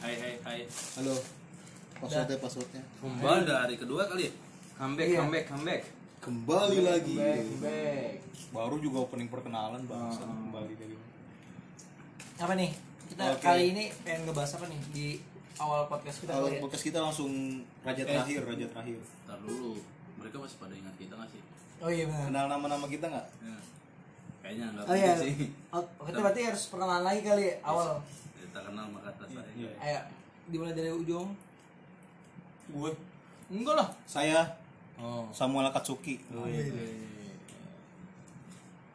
Hai hai hai. Halo. Passwordnya passwordnya. Kembali dari kedua kali. ya? Comeback Iya. comeback comeback. Kembali lagi. Back, back. Baru juga opening perkenalan bangsa kembali dari Apa nih? Kita Oke. kali ini pengen ngebahas apa nih di awal podcast kita Kalau kali ya? podcast kita langsung raja terakhir, Eh, raja terakhir. Ntar dulu. Mereka masih pada ingat kita nggak sih? Oh iya benar. Kenal nama-nama kita nggak? Kayaknya nggak Oh iya. penting sih. Oh, kita berarti harus perkenalan lagi kali ya awal. Kita kenal sama kata saya. Iya. Ayo dimulai dari ujung. Gue Enggak lah. saya Oh. Samuel Katsuki.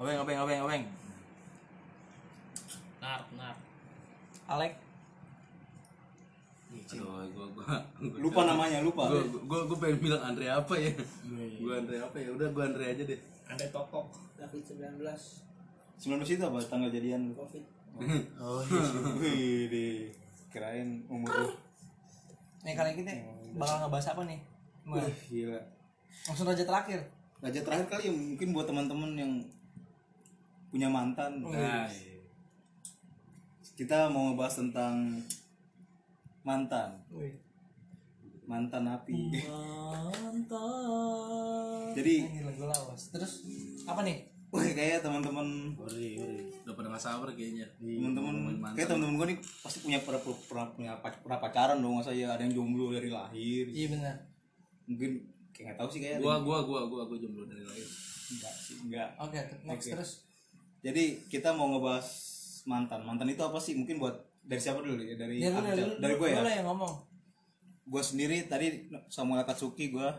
Obeng obeng obeng obeng. Nar, nar. Alek. Aduh, gua gua. gua- Lupa namanya, lupa. Gua gua- gua gua pengen bilang Andre apa ya? Gua Andre apa ya? Udah gua Andre aja deh. Ada tokok. David 19 19 itu apa tanggal jadian lu? Covid. Oh iya. Wih, kirain umur lu. Nih kali ini kita bakal ngebahas apa nih? Mulai. Wah, gila. Langsung raja terakhir. Raja terakhir kali ya mungkin buat teman-teman yang punya mantan. Nah, Kita mau ngebahas tentang mantan, Wih. mantan api. Hmm. Mantap. Jadi, Anjir lagu lawas. Terus apa nih? wah kayak teman-teman udah pada nggak sabar kayaknya. Ngomongin teman-teman mantan. kayak teman-teman gue nih pasti punya pernah pernah punya pac- pernah pacaran dong masa ya ada yang jomblo dari lahir Iya benar. mungkin kayak nggak tahu sih kayak Gua gua gua gua gua jomblo dari lahir. enggak sih enggak Oke, next Oke. terus. jadi kita mau ngebahas mantan mantan itu apa sih mungkin buat dari siapa dulu ya dari Ya lu Amjad. dari, dari gue ya Lu lah yang ngomong. gue sendiri tadi Samuel Katsuki gue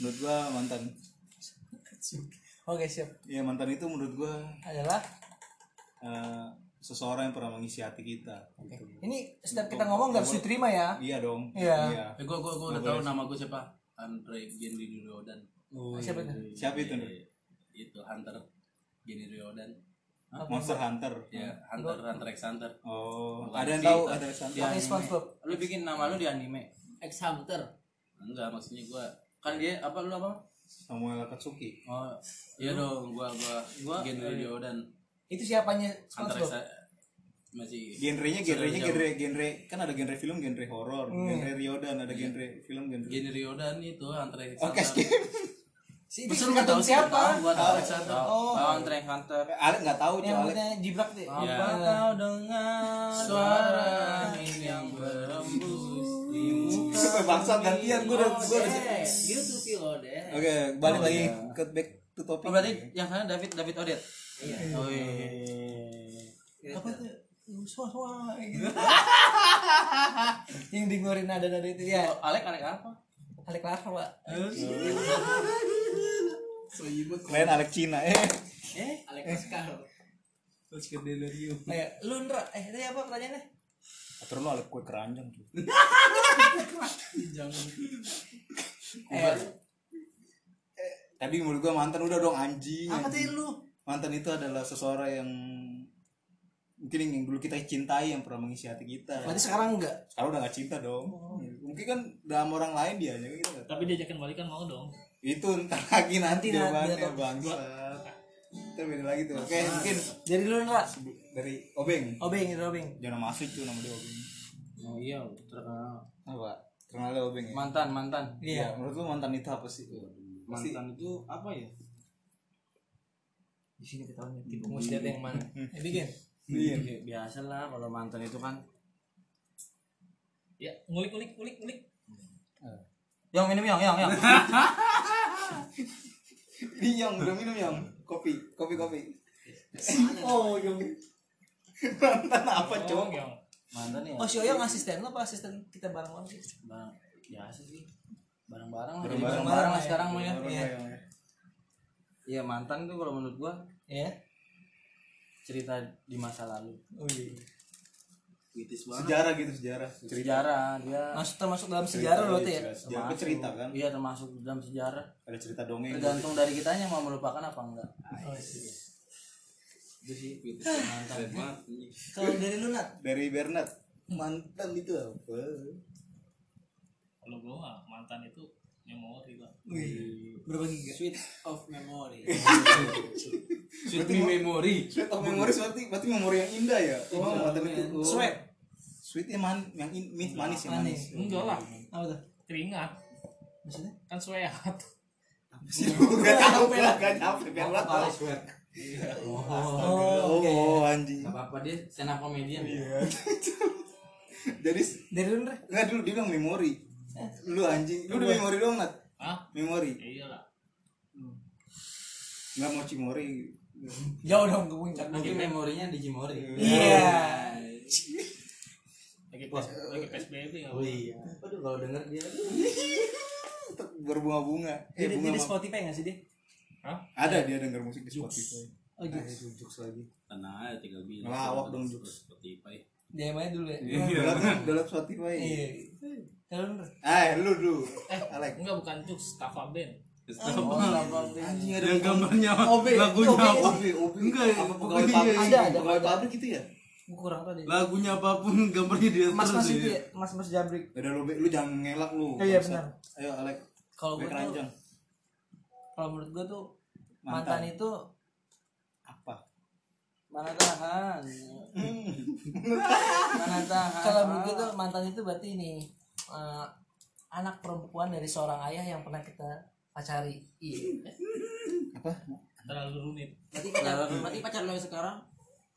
menurut gue mantan Oke, siap. ya mantan itu menurut gue Adalah eh, seseorang yang pernah mengisi hati kita Oke. ini setiap kita ngomong nggak bisa diterima ya. iya dong Iya. Eh, gua gua gua udah tahu nama gua siapa. Andre Genri Dodan. Siapa itu? Oh, iya, siapa itu Nur? Itu Hunter Genri Dodan. Monster Hunter Ya, Hunter Hunter X Hunter. oh Bukan ada yang sih. tahu Iya. Iya, ada yang Iya, Pakai SpongeBob. Lu bikin nama lu di anime. Ex Hunter. Enggak, maksudnya gua kan dia apa lu apa? Samuel Katsuki Oh, iya dong, gua gua gua Genri Dodan. Itu siapanya Hunter X SpongeBob? masih genrenya genrenya genre genre kan ada genre film genre horor Hmm. genre Ryodan ada genre film genre Genri Dodan itu Hunter X oke Hunter. skip Si Betul, itu nggak kartun tahu sih, siapa? tahu gua tahu X Hunter. Oh, Lawan Hunter x Hunter. Ale nggak tahu yang cuy rambutnya jibrak deh. Iya. Ya. Apa kau dengar Suara angin yang berembus di muka. Ale bangsat Iya, gantian gue udah gue udah Gitu tuh Odeh. oke Iya. balik lagi ke back to topic Oh, berarti yang sana David David Odet. Iya. Apa tuh? Suara suara gitu. yang dengerin nada-nada itu ya. Alek Alek apa? Alik Larva, Pak. kalian Alek Cina eh Alex Oscar. Eh. Ayo, lu Ndra, eh tadi apa pertanyaannya? atur lu Alek kue keranjang tuh Iya. Eh, tadi menurut gue mantan udah dong anjing apa anjing. tadi lu? mantan itu adalah seseorang yang mungkin yang dulu kita cintai yang pernah mengisi hati kita Berarti sekarang enggak? sekarang udah gak cinta dong mungkin kan dalam orang lain dia aja kita nggak tahu. Tapi diajakin balikan mau dong. itu ntar lagi nanti Nanti, jawabannya nanti. bangsa itu beda lagi tuh oke mungkin Jadi lu Ndra. dari obeng Obeng, itu Obeng. jangan masuk tuh nama dia obeng Oh iya, terkenal. apa terkenalnya obeng ya Mantan, mantan. iya menurut lu mantan itu apa sih pasti itu apa ya? Di sini kita tahu tipe muslihat yang mana. Eh, bikin. iya Biasa lah kalau mantan itu kan Ya, ngulik ngulik ngulik ngulik. Eh. Yang minum yang, yang, yang. Ini yang udah minum yang kopi kopi kopi oh yang mantan apa cowok Yang mantan ya. Oh, si Oyang asisten lo apa asisten kita bareng bareng sih? Barang, biasa Ya, sih. Barang-barang lah. jadi Barang-barang. Barang-barang lah sekarang mah ya. Iya. Iya, mantan tuh kalau menurut gua Ya. cerita di masa lalu. Oh iya. Kritis sejarah gitu sejarah Sejarah dia Masuk termasuk dalam sejarah lo tuh ya. Iya, sejarah Itu cerita kan iya termasuk dalam sejarah. ada cerita dongeng Tergantung dari kitanya mau melupakan apa enggak. Itu sih kritis mantan. Kalau dari lu Nat, dari Bernard mantan itu apa kalau gua mah mantan itu memori lah. berapa ya? giga? Sweet of memory. Sweet memory. Sweat of memories berarti berarti memori yang indah ya. Oh, mantan itu. Oh. Sweat. sweetnya man yang in, mie manis ya manis Manis. enggak lah Apa tuh? keringat Maksudnya? kan sweat gak capek lah gak capek biar lah Kepala sweat. Oh, oh, oke. oh anjing Gak apa-apa dia stand up comedian. Iya. jadi Dari dulu Ndre. nggak dulu dia bilang memori lu anjing lu udah memori doang nat ah memori iya lah nggak mau cimori Jauh dong ke puncak. Mungkin memorinya di Cimory. Iya. lagi PS, lagi psbb nggak Oh boleh iya. Aduh kalau denger dia. berbunga-bunga eh Jadi dia bunga di ma- Spotify nggak sih dia? Hah? ada dia denger musik di Spotify Nah, Oh gitu. Tenang aja tiga biji. Ngelawak dong, Jux. Spotify. Dia aja dulu ya. dalam dalam Spotify Iya. Dari dulu. eh lu dulu eh Alek. enggak bukan cuks kafa band Oh, anjing ada Yang gambarnya apa? Obe. Lagunya Obe. apa? Obe, Obe. Enggak, apa pokoknya pegawai pabrik iya, Ada, ada. pegawai pabrik gitu ya Gue kurang tadi. Lagunya apapun gambarnya dia Mas Mas terus itu ya. ya, Mas Mas Jabrik. udah lu Be. lu jangan ngelak lu Iya, Bangsat. benar. ayo Alek Kalau Be gue tuh, keranjang kalau menurut gue tuh Mantan. mantan, itu apa mana tahan, mana tahan. Kalau menurut gue tuh mantan itu berarti ini eh, anak perempuan dari seorang ayah yang pernah kita pacari. Iya. terlalu rumit Berarti pacar, berarti pacar lo yang sekarang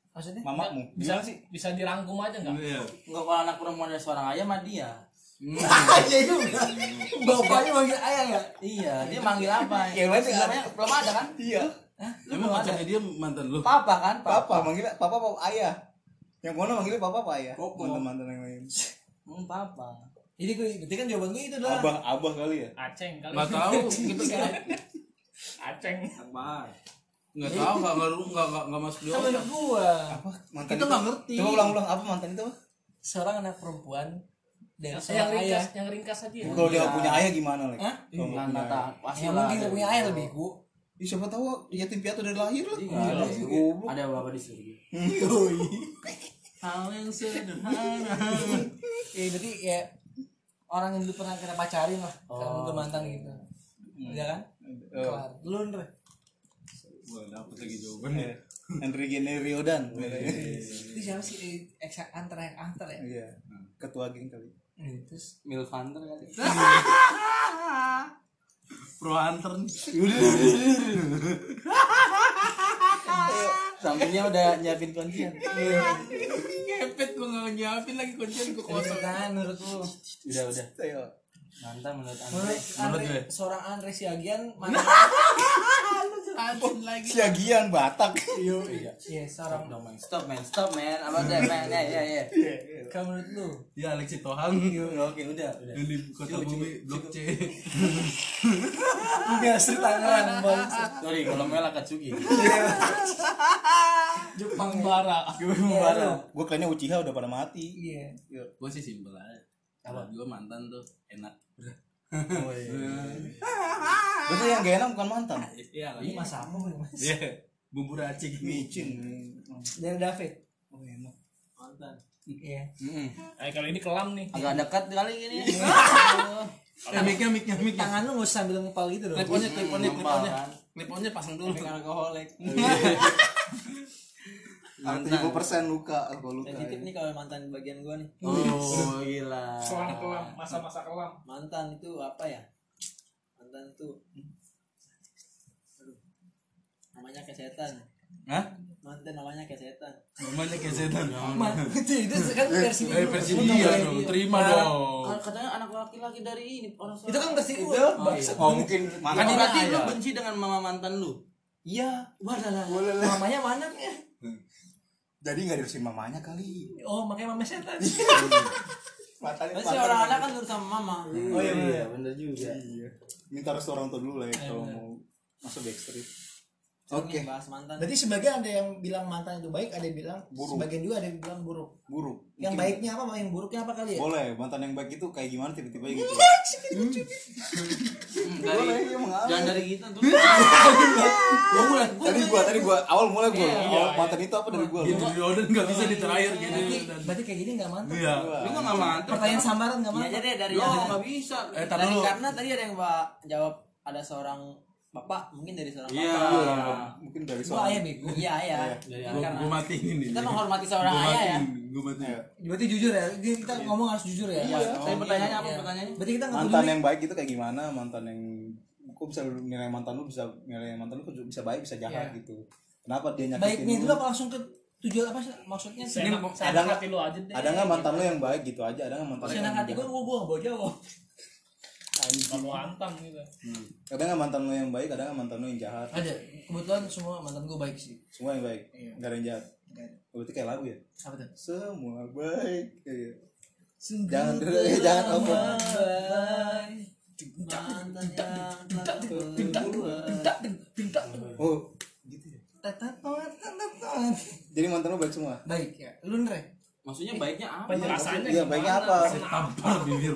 Maksudnya? mamamu bisa bisa dirangkum aja nggak Iya. nggak kalau anak perempuan dari seorang ayah mah dia. Iya juga. Bapaknya manggil ayah ya. Iya, dia manggil apa? Ya, berarti- Namanya belum ada kan? iya Emang pacarnya dia mantan lu. Papa kan? Papa. papa manggil papa apa ayah yang mana manggilnya papa apa ayah mantan mantan yang lain Hmm, papa. Jadi gue, berarti kan jawaban gue itu adalah abah abah kali ya aceng kali Enggak tahu, gitu kan. aceng Akbar. Enggak tahu, enggak ngaruh, enggak enggak enggak masuk di kan otak. menurut gue. apa Kita mantan itu? enggak ngerti. coba ulang ulang apa mantan itu apa seorang anak perempuan dari yang, yang seorang ayah ringkas yang ringkas aja Iya. ya. kalau dia nggak punya ayah gimana lek Hah? Kalau nggak Nggak punya ayah. tahan. Pasti yang lah gitu. mungkin ada. gak punya ayah lebih ku Ih, siapa tahu yatim piatu dari lahir lah Iya, ada. goblok Hmm. Ada bapak di surga. Hal yang sederhana. ya berarti ya orang yang dulu pernah kita pacarin lah Oh. sekarang udah mantan gitu Hmm. ya kan Eh. kelar lu Ndre Gua dapet lagi jawabannya. Enrique Neriodan Oh, iya, itu siapa sih eh, ex antar yang antar ya iya ketua geng kali Hmm, terus Milfanter kali. Pro hunter nih. Sampingnya udah nyiapin kuncian. Ngepet gua enggak nyiapin lagi kuncian gua kosong. nah menurut lu Udah, udah. ayo Mantap menurut Andre. menurut Andre gue. seorang Andre Siagian mantan Anjing lagi. siagian Batak iya seorang Stop man, stop man. Apa deh man? Ya, ya, ya. kalau menurut lu Ya Alexi Tohang Oke, udah, udah. yang di kota bumi blok C. punya Sri Tangerang bang Sorry, kalau Mela Katsuki. Iya. Jepang bara gue Iya, kayaknya Uchiha udah pada mati iya Gua sih simpel aja. Kalau gua mantan tuh enak. Oh, iya, berarti yang gak enak bukan mantan Iya lagi. ini mas apa mas Iya. Bumbu racik Hmm. micin dari David oh enak iya Hmm. eh kalau ini kelam nih Agak dekat kali gini. Eh, mic-nya, Iya, mic-nya, mic-nya. tangan lu nggak usah sambil ngepal gitu dong Teleponnya, Iya. teleponnya, nempel, teleponnya. kan? Teleponnya pasang dulu. Tapi alkoholik. tujuh puluh persen luka kalau luka sensitif nih kalau mantan bagian gua nih Oh, gila. kelam kelam masa-masa kelam mantan itu apa ya mantan itu aduh namanya kesetan Hah? mantan namanya kesetan Namanya kayak setan. Man, itu itu kan versi Eh, versi dia dong. Terima dong. Kan Katanya anak laki-laki dari ini orang itu kan versi gua ya? oh mungkin Makanya makanya berarti lu benci dengan mama mantan lu. iya Wadah mamanya mana ya jadi nggak diurusin mamanya kali oh makanya mama setan matanya Pasti orang anak kan nurut sama mama. oh iya bener. bener juga. Iya, Iya. minta restu orang tua dulu lah ya kalau mau masuk backstreet Ini oke bahas mantan berarti sebagian ada yang bilang mantan itu baik ada yang bilang Buruk. sebagian juga ada yang bilang buruk buruk yang Mungkin baiknya apa yang buruknya apa kali ya boleh mantan yang baik itu kayak gimana tiba-tiba gitu Iya, Dari iya mengalir. jangan dari kita tuh. Iya. Gua mulai tadi iya. gua tadi gua awal mulai gua awal mantan itu apa dari gua lu Gitu Jordan nggak bisa di terakhir gitu. berarti berarti kayak gini nggak mantan Iya. Lu kan mama mantan. pertanyaan samaran nggak ini mantan aja deh dari Lo yang nggak bisa. Eh, tar dari dulu. karena tadi ada yang ba- jawab ada seorang bapak mungkin dari seorang Iya. mungkin dari Gua ayah soal bego. bapak iya ya Iya, Gua, gua matiin ini. kita menghormati seorang Iya, Gua ayah ya matiin, Gua matiin. Berarti jujur ya, ini kita ngomong harus jujur ya. Iya, saya pertanyaannya apa Iya. pertanyaannya? Berarti kita nggak mantan peduli. yang baik itu kayak gimana mantan yang kok bisa lu nilai mantan lu bisa nilai mantan lu kok bisa baik bisa jahat gitu kenapa dia nyakitin Baiknya lu? dulu apa langsung ke tujuan apa sih? Maksudnya Seenak, ada seenak nggak- hati lu aja deh. ada nggak mantan lu yang baik gitu aja ada nggak mantan lu senang yang hati gue, gue gak bawa jawab. Nggak mau hantam gitu. Hmm. ada nggak mantan lu yang baik ada nggak mantan lu yang jahat Ada, kebetulan semua mantan gue baik sih. semua yang baik nggak ada yang jahat berarti kayak lagu ya Apa tuh? semua baik Iya. Sungguh jangan eh, jangan apa mantan yang oh gitu ya jadi mantan lu baik semua Baik ya, lu nre. Maksudnya baiknya apa? Penjelasannya Iya, baiknya apa? Saya tampar bibir.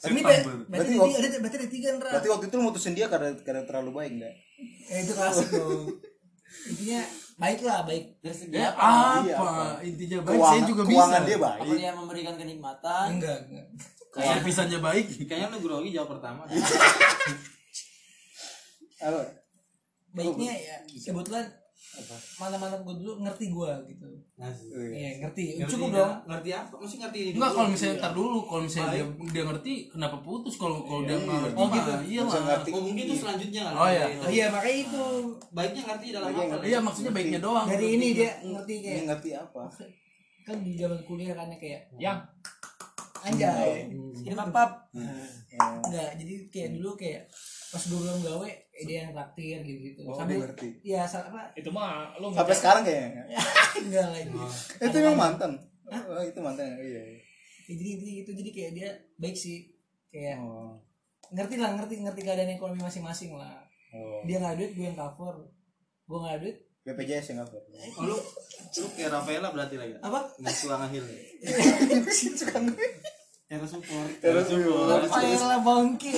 Saya Ini be- tampar. berarti Berarti ada waktu- tiga- ada berarti ada tiga nre. berarti waktu itu lu mutusin dia karena karena terlalu baik nggak Eh itu klasik dong. Intinya baik lah, baik. dari segi Eh, Ya, apa Iya, apa? Intinya baik saya Keuangan- juga bisa. keuangan dia apa baik dia memberikan kenikmatan Enggak, enggak. Kalau pisannya baik, Kayaknya lu grogi jawab pertama. apa Baiknya ya kebetulan mantan-mantan gue dulu ngerti gue gitu. Iya, ngerti. Cukup dong. Nah, Ngerti apa? Mesti ngerti hidup Enggak lu. kalau misalnya ntar dulu kalau misalnya dia, dia ngerti kenapa putus kalau kalau dia nggak ngerti Oh, gitu. iya Bisa lah. ngerti Oh, mungkin itu selanjutnya kali. Oh, iya. Itu. Iya, makanya itu. Baiknya ngerti dalam ya. Baiknya apa? ngerti. Iya maksudnya baiknya doang. Dari ini dia ngerti dia kayak ngerti apa kan di zaman kuliah kan ya kayak Yang anjay. ini apa Enggak, jadi kayak dulu kayak pas gue belum gawe eh, dia yang traktir gitu gitu. Oh, dia Sambil ngerti. Iya, sama itu mah lu sampai ngejar- sekarang kayaknya enggak gitu. lagi. itu memang mantan oh, itu mantan iya iya. Ya, jadi intinya gitu jadi kayak dia baik sih kayak oh, ngerti lah ngerti ngerti keadaan ekonomi masing-masing lah oh. dia nggak ada duit gue yang cover gue nggak ada duit BPJS yang apa Oh, lu lu kayak Rafaela berarti lagi. apa Nggak tulang ahil. suka Era support. terus Rafael lah bangke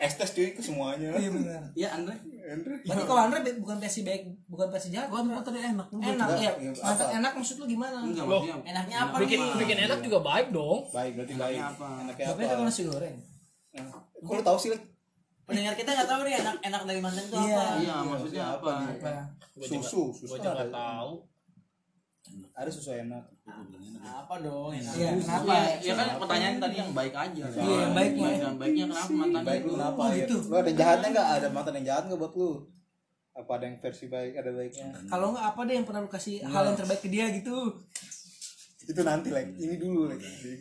estes cuy ke semuanya iya benar Iya, Andre. Andre Iya. berarti kalau Andre be- bukan versi baik bukan versi jahat Gua mau tadi enak. enak Enggak, ya iya, mantap apa? enak maksud lu gimana Enggak maksudnya. enaknya apa bikin nih bikin enak juga baik dong. baik berarti baik Enaknya apa? enaknya tapi apa kan nasi goreng Nah, kok lu tahu sih Lek? pendengar kita nggak tahu nih enak enak dari mantan itu Iya. apa Iya, maksudnya apa? apa susu susu Gua juga ada nggak tahu. ada susu enak apa dong enak iya kenapa Iya, ya kan pertanyaan tadi yang baik aja. Iya, Soalnya yang baiknya. Yang baiknya kenapa mantan baik itu? lu kenapa Oh, ya gitu. lu ada yang jahatnya nggak ada mantan yang jahat nggak buat lu apa ada yang versi baik ada baiknya kalau nggak apa deh yang pernah lu kasih hal Iya. yang terbaik ke dia gitu itu nanti Lek. ini dulu Lek. Jadi,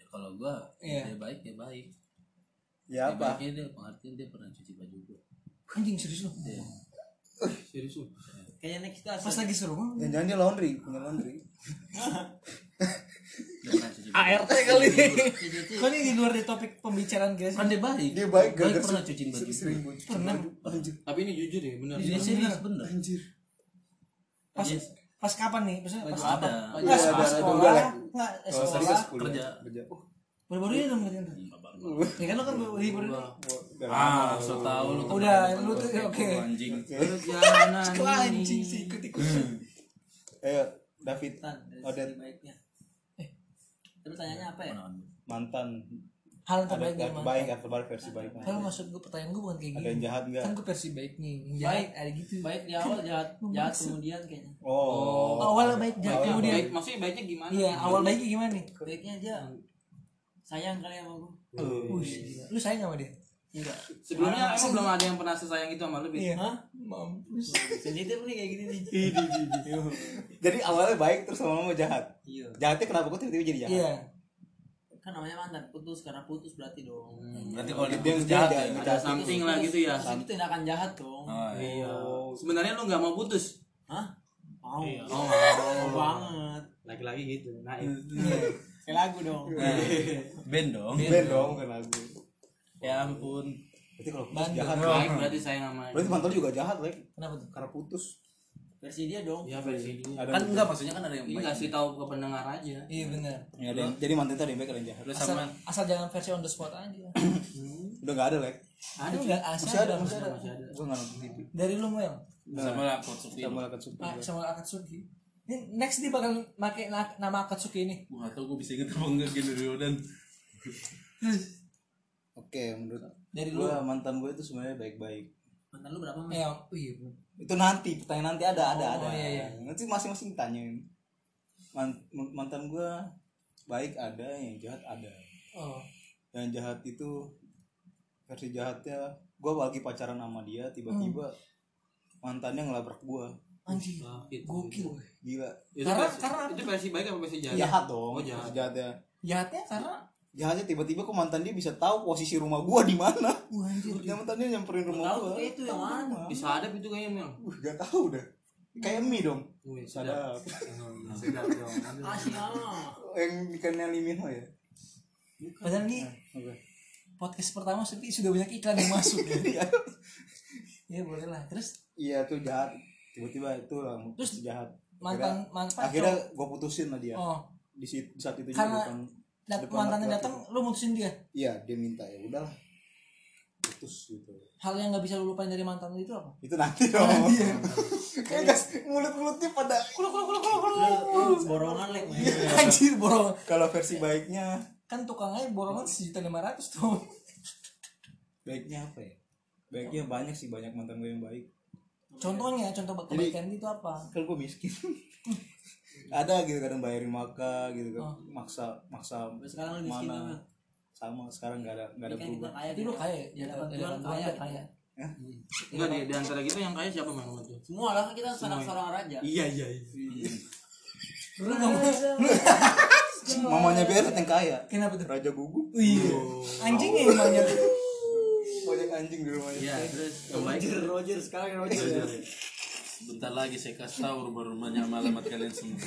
Ya, kalau gua Iya. dia baik dia baik. ya Dia apa baiknya dia pengertian dia pernah cuci baju gua. anjing serius lu Serius lu. kayaknya next kita pas lagi seru jangan-jangan dia laundry punya laundry Dia pernah cuci baju. ART kali. Iya, kan ini di luar dari topik pembicaraan guys Kan dia baik. dia baik baik gak pernah cuciin baju. gua. sering cuci baju anjir Tapi ini jujur ya, benar. Dia serius bener. anjir pas pas kapan nih maksudnya pas Ada. Enggak, Iya, ada- pas ada sekolah, dua lah. enggak eh, kalau serius sekolah. kuliah kerja. kerja oh, Baru-baru ini dong berarti. Iya, Ya kan lo kan baru baru ini. udah lama. Ah, so tau lu. Udah, lu tuh oke. Anjing. Perjalanan Anjing sih ikut-ikut. eh David Tan, dari Odet. segi baiknya. Eh. Tapi pertanyaannya apa ya? mantan Hal yang ada terbaik dari yang mana? baik atau baik versi baik Kalau maksud gue pertanyaan gue bukan kayak ada gini. yang jahat nggak Kan gue versi baik nih. Yang Baik. Jahat ada gitu. Baik di awal jahat, jahat kemudian kayaknya. oh Awal baik jahat Awal kemudian. Nah, Baik, maksudnya baiknya gimana? Iya, awal baiknya gimana nih? Baiknya aja sayang kali sama gue. Wih, lu sayang sama dia? Iya. Enggak. Sebelumnya emang belum ada yang pernah sesayang itu sama lu, Bit? Hah? Iya. Mampus. Iya. Sensitif nih kayak gini nih. jadi awalnya baik terus lama-lama jahat Iya. jahatnya kenapa kok tiba-tiba jadi jahat Iya. Kan namanya mantan putus karena putus berarti dong. Berarti kalau dia Dia- dia jahat jahat, ya. jahat. Ada something Hmm. lah gitu ya. Putus itu tindakan jahat dong. Ah, iya. Iya. Sebenarnya lu nggak mau putus. Hah? Mau. Iya. Oh, Mau banget. lagi-lagi gitu. Naik. Iya. Kayak lagu dong. Band dong. Ben dong kan lagu Ya ampun. berarti kalau putus Bandung. jahat Lek. Baik berarti sayang sama. berarti mantan lu juga jahat Lek Kenapa tuh? karena putus Versi dia dong. Ya Iya, versi dia. ada Kan enggak maksudnya kan ada yang Ini baik. ngasih Iya, tahu ke pendengar aja. Iya benar. Ya, ada yang- jadi mantan itu ada yang baik ada yang jahat Lu Asal, sama asal jangan versi on the spot aja. udah nggak ada Lek Ada enggak asal? masih ada masih ada Iya. gue nggak nonton TV Dari lu Mel. sama lah konstruksi. kita melakukan super Ah. Ma- sama Akatsuki. Ini next dia bakal make na- nama Akatsuki ini. Gua nggak tau gua bisa inget apa enggak Gender Riodan. Oke, menurut Dari gua mantan gue itu sebenarnya baik-baik. mantan lu berapa Eh, mas? yang- wih, bu- itu nanti pertanyaan nanti ada ada Oh, ada iya, iya. nanti masing-masing tanyain Man- mantan gua baik ada yang jahat ada oh, yang jahat itu versi jahatnya gua lagi pacaran sama dia tiba-tiba mantannya ngelabrak gua anjing, Sakit. gokil. gila Itu Karena- versi- karena- itu versi baik apa versi jahat? jahat dong Oh, jahat. versi jahatnya Jahatnya karena, jahatnya tiba-tiba kok mantan dia bisa tahu posisi rumah gua di mana wah anjir. Dia mantannya nyamperin rumah Tahu gua tuh itu yang mana? Bisa ada itu kayaknya Mel. uh, gak tahu dah kayak mie dong Wih, sedap. sadar Sedap dong. Asyik ah. yang ikannya limino ya Nah, Padahal nih podcast pertama seperti sudah banyak iklan yang masuk. ya. ya boleh lah. Terus iya tuh jahat tiba-tiba itu lah Terus terus jahat mantan mantan akhirnya ya, gue putusin lah dia oh, di, situ, di saat itu juga kan. Karena- depan- dat- depan mantannya laki-laki. datang, lu mutusin dia. iya dia minta ya udahlah putus gitu Hal yang nggak bisa lu lupain dari mantan lu itu apa? itu nanti dong Iya. kayak gas mulut mulutnya pada Iya, Borongan lek men. Anjir borong. kalau versi baiknya Kan tukangnya borongan sejuta lima ratus tuh. baiknya apa ya baiknya banyak sih banyak mantan gue yang baik Contohnya, contoh kebaikan itu apa? kan gue miskin ada gitu kadang bayarin makan gitu kan Oh. maksa maksa Sampai sekarang lu miskin mana. apa? sama sekarang gak ada gak ada Kan kita berubah kaya. Jadi lu kita- kaya, Ya, ya, dapat ya, cuan gua kaya. ada kaya. Enggak di, di antara kita yang kaya siapa Mel? menurut lu? Semua lah kita seorang-seorang raja. Iya iya. iya. Lu nggak mau? Lu mamanya Beret yang kaya kenapa tuh? raja gugup Iya. Anjing ya emangnya. banyak anjing di rumahnya Iya, terus yang baik. Roger, Roger sekarang Roger. ya. Bentar lagi saya kasih tahu rumah-rumahnya alamat kalian semua.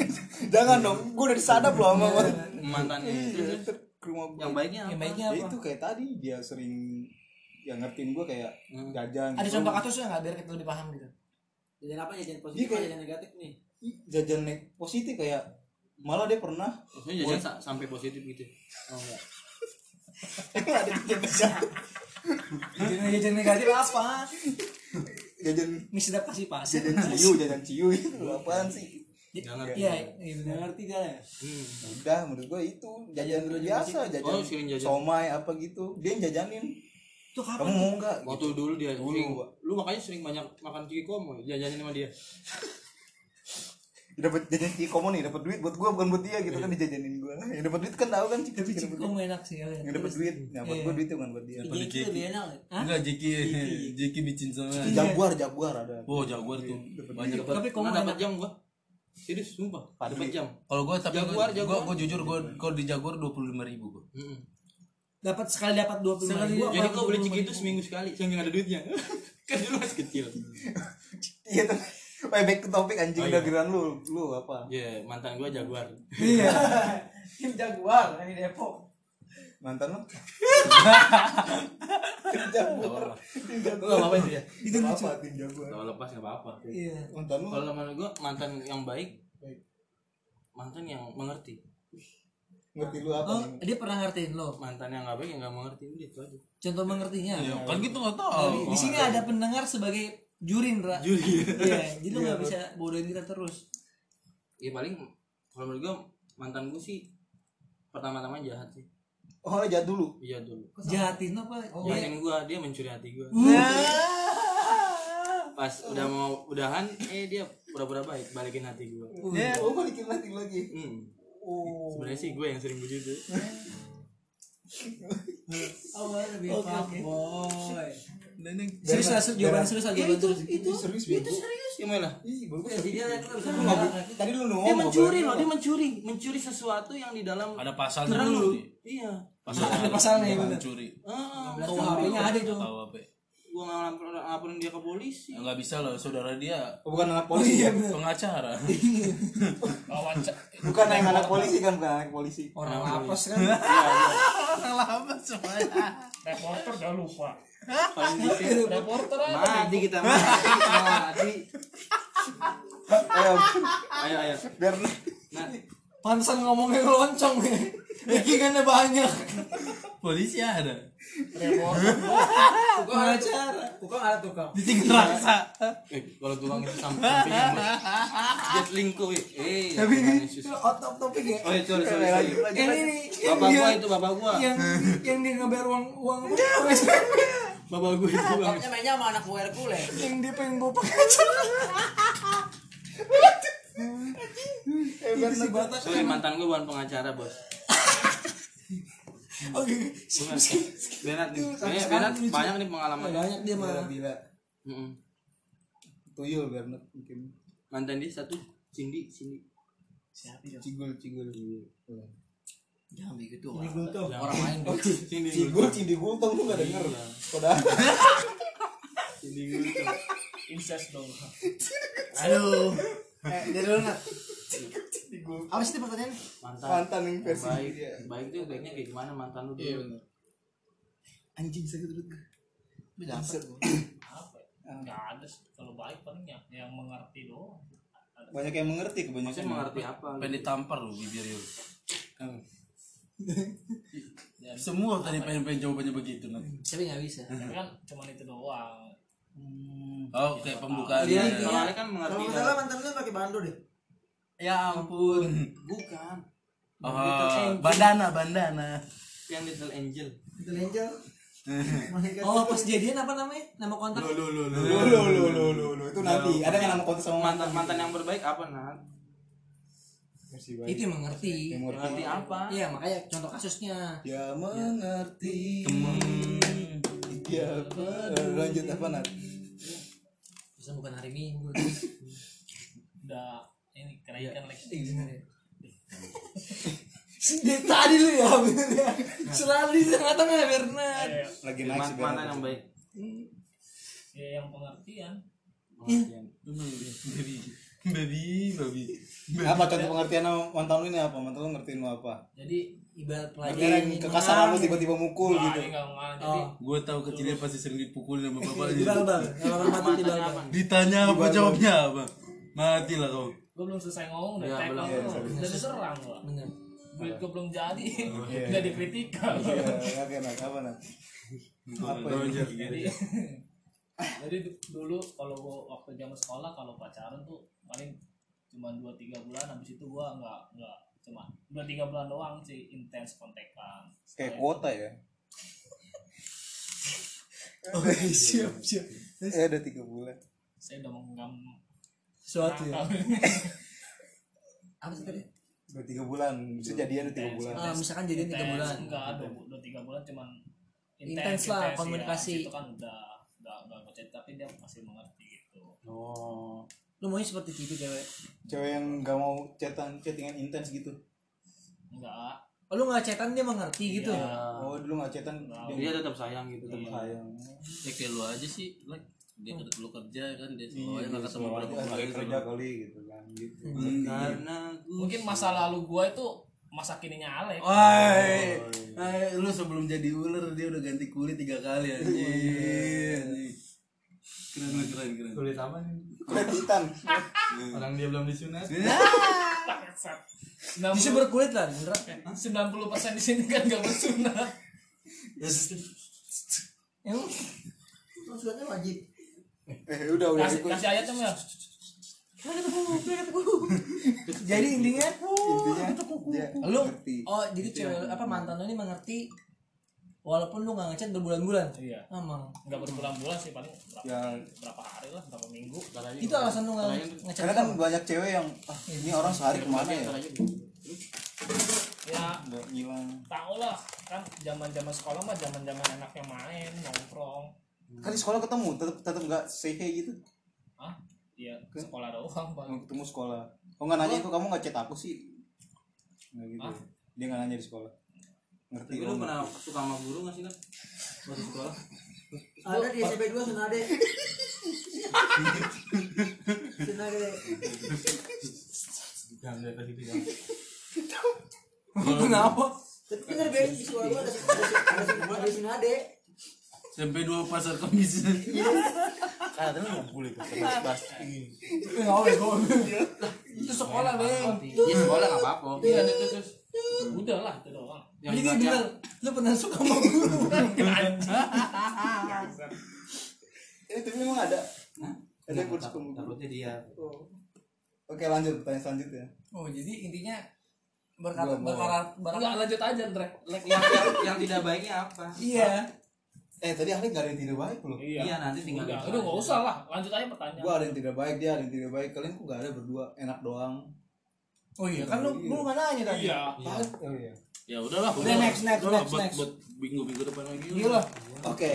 Jangan dong, gue udah disadap loh sama gue. Mantan Iya, itu. ter- ke rumah gue. Yang baiknya Yang apa? baiknya Ya apa? itu kayak tadi dia sering yang ngertiin gue kayak jajan. Hmm. Ada gitu. contoh kasus nggak biar kita lebih paham gitu? Jadi apa jadi positif Gitu. Iya, kayak- jadi negatif nih? Ih, Jajan naik positif kayak malah dia pernah Maksudnya jajan sa- sampai positif gitu. Oh enggak. ada jajan Jajan jajan negatif apa? jajan Mie sedap kasih pasir. jajan ciu jajan ciu itu apaan sih? Jangan. Iya, iya benar. Ngerti gak ya? Udah menurut gue itu jajan biasa jajan, Oh, sering jajan. somai apa gitu dia yang jajanin. Itu kapan? Kamu mau nggak? Waktu dulu dia Dulu, sering, Pak. lu makanya sering banyak makan ciki komo, jajanin sama dia. Dapat jajan cikomo nih, dapat duit buat gue bukan buat dia gitu kan dijajanin gue. Yang dapat duit kan tahu kan cikomo. Iya. Tapi cik kamu enak sih. ya. yang dapat duit yang dapat Iya. gue duit itu kan buat dia Jadi itu Gitu, lebih enak. Lek. Enggak Jeki Jeki bicin sama. Iya. jaguar jaguar ada Oh jaguar tuh banyak banget. Tapi kamu Pernah dapat enak. jam gua. Serius, sumpah. Dapat Padri. jam. Kalau gue tapi Jaguar, gua, Jaguar. Gua, gua jujur gue kalau di Jaguar dua puluh lima ribu gue. Heeh. Dapat sekali dapat dua puluh Sekali jadi kau beli ciki itu seminggu sekali, saking ada duitnya. kan dulu masih kecil. iya tuh Wah, back to topic anjing udah giliran lu lu apa Ya, mantan gua jaguar. Iya. Tim Jaguar dari Depok. mantan lu Gua enggak apa-apa sih ya. itu apa tim jaguar Kalau lepas enggak apa-apa. Iya. mantan lu Kalau menurut gua mantan yang baik mantan yang mengerti ngerti lu apa Oh, nih? dia pernah ngertiin lo. mantan yang nggak baik yang nggak mengerti udah itu aja Contoh mengertinya. Kan gitu nggak tahu. Di sini ada pendengar sebagai juri, Ndra. juri Iya, jadi lo nggak bisa bodohin kita terus. ya paling kalau menurut gua mantan gua sih pertama-tama jahat sih oh lu jahat dulu iya dulu Jahatin apa? Oh, Iya. gitu. jahatin gua dia mencuri hati gua Nah. pas udah mau udahan eh dia pura-pura baik balikin hati gua oh balikin lagi lagi hmm. sebenarnya sih gua yang sering begitu Oh, lebih fuck boy. Serius lah, serius, jawaban serius lah, jawaban serius. itu serius bego serius ya malah ih baru gua- Jadi dia lu bisa lu nggak Oh, bu- tadi lu dia ngomong nggak mencuri boleh. loh dia mencuri mencuri sesuatu yang di dalam Ada pasalnya Terang dulu. lu iya Pasal Ada pasalnya, iya, bener. mencuri. ah, Tuh HP-nya Oh, ada tuh. Tahu apa? ya. gua ngelaporin ngelaporin dia ke polisi Ya, Nggak bisa loh saudara dia Oh, bukan anak polisi ya pengacara. Wawancara. bukan yang anak polisi kan bukan anak polisi Orang Iya, lapas kan. reporter udah lupa Reporter mati kita mati mati ayo ayo ayo Eh, ya biar nah Pansan ngomongnya loncong ya. Bikinannya banyak. Polisi ada. Tukang ada cara. Tukang ada tukang. Ditinggal raksa. eh, kalau tukang itu sam- sampingan Bos. jet lingko eh eh Tapi Tuhan ini Yesus. out of topic ya. oh ya sorry sorry, Eh, sorry. Yang ini nih, yang bapak dia- gua itu bapak gua yang yang dia ngebayar uang uang uang SPP. bapak gue itu bang Bokapnya mainnya sama anak buah Hercules. yang dia pengen bawa pakai celana itu si batak sorry mantan gue bukan pengacara bos oke Bukan. Benat nih Kayaknya Benat banyak nih pengalaman banyak dia malah gila Mm-mm. tuyul Bernard mungkin mantan dia satu Cindy Cindy Siapa itu? cigul cigul Ya, Jangan begitu. Cindi orang. gultong Orang lain dong. Cindy cigul cindi gultong tuh gak denger Iya. udah Cindy Gulto incest dong Aduh. Eh, dari lu Nat. Apa sih itu pertanyaan? mantan mantan yang versi baik dia baik tuh baiknya kayak gimana mantan lu Iya, dulu anjing sakit perut gue. Buset. apa ya? nggak ada sih kalau baik paling ya yang mengerti doang banyak yang mengerti kebanyakan maksudnya mengerti apa Pengen ditampar lu bibir lu. Hmm. dan Ya, Semua tadi pengen-pengen jawabannya begitu Nat. Tapi nggak bisa. tapi kan cuman itu doang Oh, kayak pembukaan. Iya, Iya. kalau Ale kan mengerti Kalau nggak salah dalam- mantan lu pakai bando deh. ya ampun bukan Oh, bandana, bandana. yang Little Angel Itu lenjel. Oh pas jadian apa namanya? Nama kontak? lu lu lu lu lu lu itu nanti ada yang nama kontes sama mantan mantan yang berbaik apa nat versi baik Itu yang mengerti. yang mengerti mengerti apa Iya makanya contoh kasusnya. ya mengerti ya mengerti. lanjut apa nat Bisa bukan hari Minggu. Iya. udah ini kenaikan lagi Dia tadi lu ya bener ya. Nah. Selalu di tengah-tengah Bernard. ya, lagi Ya, naik man- sih mantan Bernard. yang baik ya yang pengertian Pengertian. Baby, baby, baby. apa contoh pengertian sama mantan lu ini apa mantan lu ngertiin lu apa Jadi ibarat Akhirnya pelajaran kekasaran lu menang. tiba-tiba mukul Nah, gitu ini nggak ngalah. jadi Oh, Gue tahu kecilnya pasti sering dipukulin sama di bapaknya. balbal. Kalau orang mati di mantannya apa balbal. Ditanya apa jawabnya apa? Mati lah kau. gue belum selesai ngomong udah Ya, tag belum. aku, Iya, udah diserang gua Bener. duit gue belum jadi udah dikritika Iya, oke nat apa nat apa ya gitu. jadi Iya, jadi du- dulu kalau gua waktu zaman sekolah kalau pacaran tuh paling cuma dua tiga bulan habis itu gua nggak nggak cuma dua tiga bulan doang sih intens kontekan kayak kuota ya siap siap. eh ada tiga bulan saya udah menggam Suatu ya. Apa sih tadi? udah tiga bulan bisa jadian udah tiga bulan Ah, misalkan jadian tiga Intens, bulan. enggak dua, bu- dua tiga bulan cuman Intens lah, ya. komunikasi. itu kan udah udah udah ngechat tapi dia masih mengerti gitu oh Lu maunya seperti itu cewek. cewek yang gak mau chatan chattingan intens gitu enggak Oh, lu nggak cetan dia mengerti gitu. Iya. oh dulu nggak chatan dia tetap sayang gitu Iya. tetap sayang Ya kayak lu aja sih, like dia kerja lu kerja kan dia Iya, selalu nggak ketemu selalu berapa aja kali ada kerja kali gitu kan gitu karena gue mungkin masa lalu gua itu masa kininya Alex Woi, hai, lu sebelum jadi ular dia udah ganti kulit tiga kali Iya. anjing. Keren lu, keren keren. tulis apa nih? kulit hitam orang dia belum disunat sembilan Justru berkulit lah, beneran. puluh persen di sini kan gak bersunat Emang Maksudnya wajib. eh udah udah kasih ikut kasih ayat dong ya jadi intinya intinya dia lu ngerti oh jadi cewek lu- apa mantan lu ini mengerti walaupun lu nggak ngechat berbulan-bulan. iya Emang. nggak berbulan-bulan sih paling berapa, ya berapa hari lah berapa minggu Itu alasan lu nggak ngechat. karena kan banyak cewek yang ah ini orang sehari kemana ya ya nggak ngilang tau lah kan zaman zaman sekolah mah zaman zaman enaknya main nongkrong kan di sekolah ketemu tetap tetap nggak say hey gitu ah iya sekolah doang paling Nggak ketemu sekolah oh nggak nanya itu kamu nggak chat aku sih nggak gitu Hah? dia nggak nanya di sekolah ngerti Iya. tapi oh, lu lu pernah suka sama guru nggak sih nat waktu sekolah Ada di SMP 2 Sunade. Sunade. Kenapa? Tapi bener Ben, di sekolah gua ada ada ada ada Sunade. Sampai dua pasar kemis. karena lu nggak boleh pakai bahas Enggak boleh gua. Itu sekolah, Bang. ya sekolah nggak apa-apa iya itu terus udah lah itu doang Jadi dia bilang, "Lu pernah suka sama guru?" eh tapi emang ada ada yang putus takut- takutnya dia oke lanjut pertanyaan selanjutnya Oh, jadi intinya berkata Gua mau. berkarat Enggak lanjut aja Andre yang, yang, yang tidak baiknya apa Iya. eh tadi ahli nggak ada yang tidak baik loh Iya, nanti tinggal Udah, dicari. udah nggak usah lah, lanjut aja pertanyaan. gua ada yang tidak baik dia ada yang tidak baik kalian kok nggak ada berdua enak doang Oh iya kan lu lu nggak nanya tadi. Iya. Tahu? oh, iya. Ya udahlah, Udah, next, next, udahlah, next, buat, next. buat minggu-minggu depan lagi. Iya lah. oke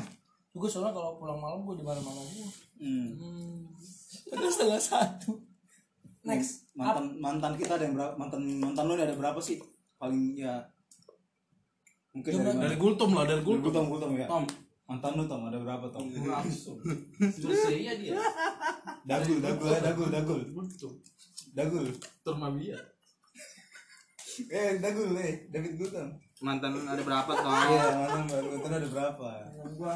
Gue soalnya kalau pulang malam gue di mana-mana gue. Hmm. Terus setengah satu. Next. mantan mantan kita ada yang berapa mantan mantan lu ini ada berapa sih paling ya mungkin dari Nah. mana? Dari Gultom lah, dari Gultom, Gultom. Gultom, Gultom ya. Tom. Mantan lu Tom ada berapa Tom? Persija dia. Dagul, dagul, ya, dagul, dagul. Dagul. Termabia. Eh, dagul, eh, David Gultom. Mantan ada berapa Tom? Iya, mantan baru mantan ada berapa? Yang gue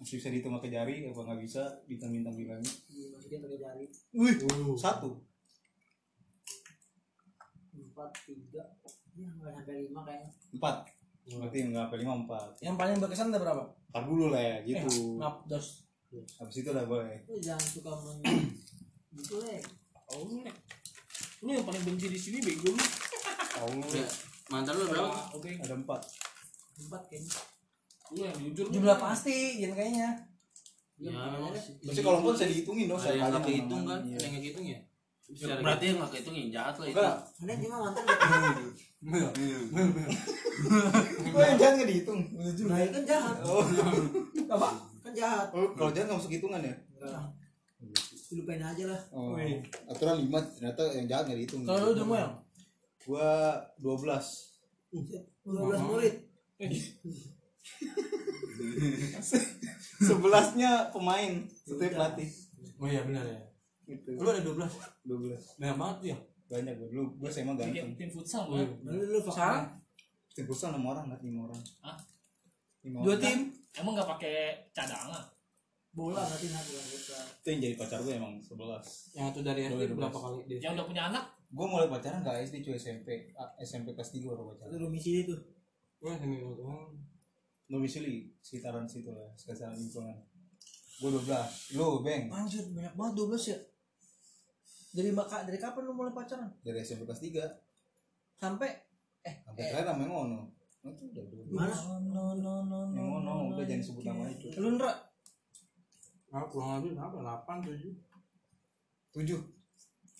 Masih bisa dihitung pakai jari apa nggak bisa bintang-bintang bilangnya? dimasukin pakai jari. Wih, satu. Empat, tiga. Ya nggak sampai lima kayaknya. Empat. Berarti nggak sampai lima empat. Yang paling berkesan ada berapa? Empat dulu lah ya, Eh, gitu. maaf dos. Habis itu udah boleh. Lu jangan suka men. Gitu eh, deh. Oh, Nek. Lu yang paling benci di sini bego lu. Ya, Mantan lu berapa? Ah, Oke, Ada empat. Empat kayaknya. lu yang jujur. lu. Jumlah pasti, yang kayaknya. Ya, memang sih. Tapi kalau empat bisa dihitungin dong. ada yang siapa nggak aja kehitung kan? nama-namanya. Ada yang nggak kehitung ya? Secara- Berarti yang nggak kehitung yang jahat lah itu. Iya. Enggak. Ada cuma mantan Gue yang jangan nggak dihitung. Nah, ya kan jahat. Oh, iya. Apa? Kan jahat. Oh, Kalau jangan nggak masuk hitungan ya? Lupain aja lah. Oh, aturan lima ternyata yang jahat nggak dihitung. Kalau lu udah mau yang? Gua dua belas. 12 murid. Sebelasnya pemain, setiap pelatih. Oh iya benar ya. Gitu. Lu ada 12. Dua belas. Banyak banget ya. Banyak gue dulu. Gue SMA Bikin ganteng. tim futsal Iya. kan. Iya. Lalu lu Sekarang? fakta. Tim futsal enam orang nggak lima orang. Hah? Lima Dua orang. tim. Emang nggak pakai cadangan? Bola berarti nah bukan futsal. Itu yang jadi pacar gue emang sebelas. Yang satu dari SD Dua, dua berapa belas. kali? Dia? Yang udah punya anak? Gue mulai pacaran nggak SD cuy SMP. Ah, SMP kelas tiga baru Itu pacaran. domisili tuh. Wah, ini doang. Domisili sekitaran situ lah, sekitaran lingkungan. Gue dua belas. Lu beng Anjir, banyak banget 12 ya. Dari maka dari kapan lu mulai pacaran? dari SMP kelas tiga Sampai eh sampai terakhir namanya Ono. Nah, Itu udah dua. Mana? No no no no. Yang Ono udah jangan sebut namanya itu. Lu nera Nah, kurang lebih berapa? 8 7. Tujuh.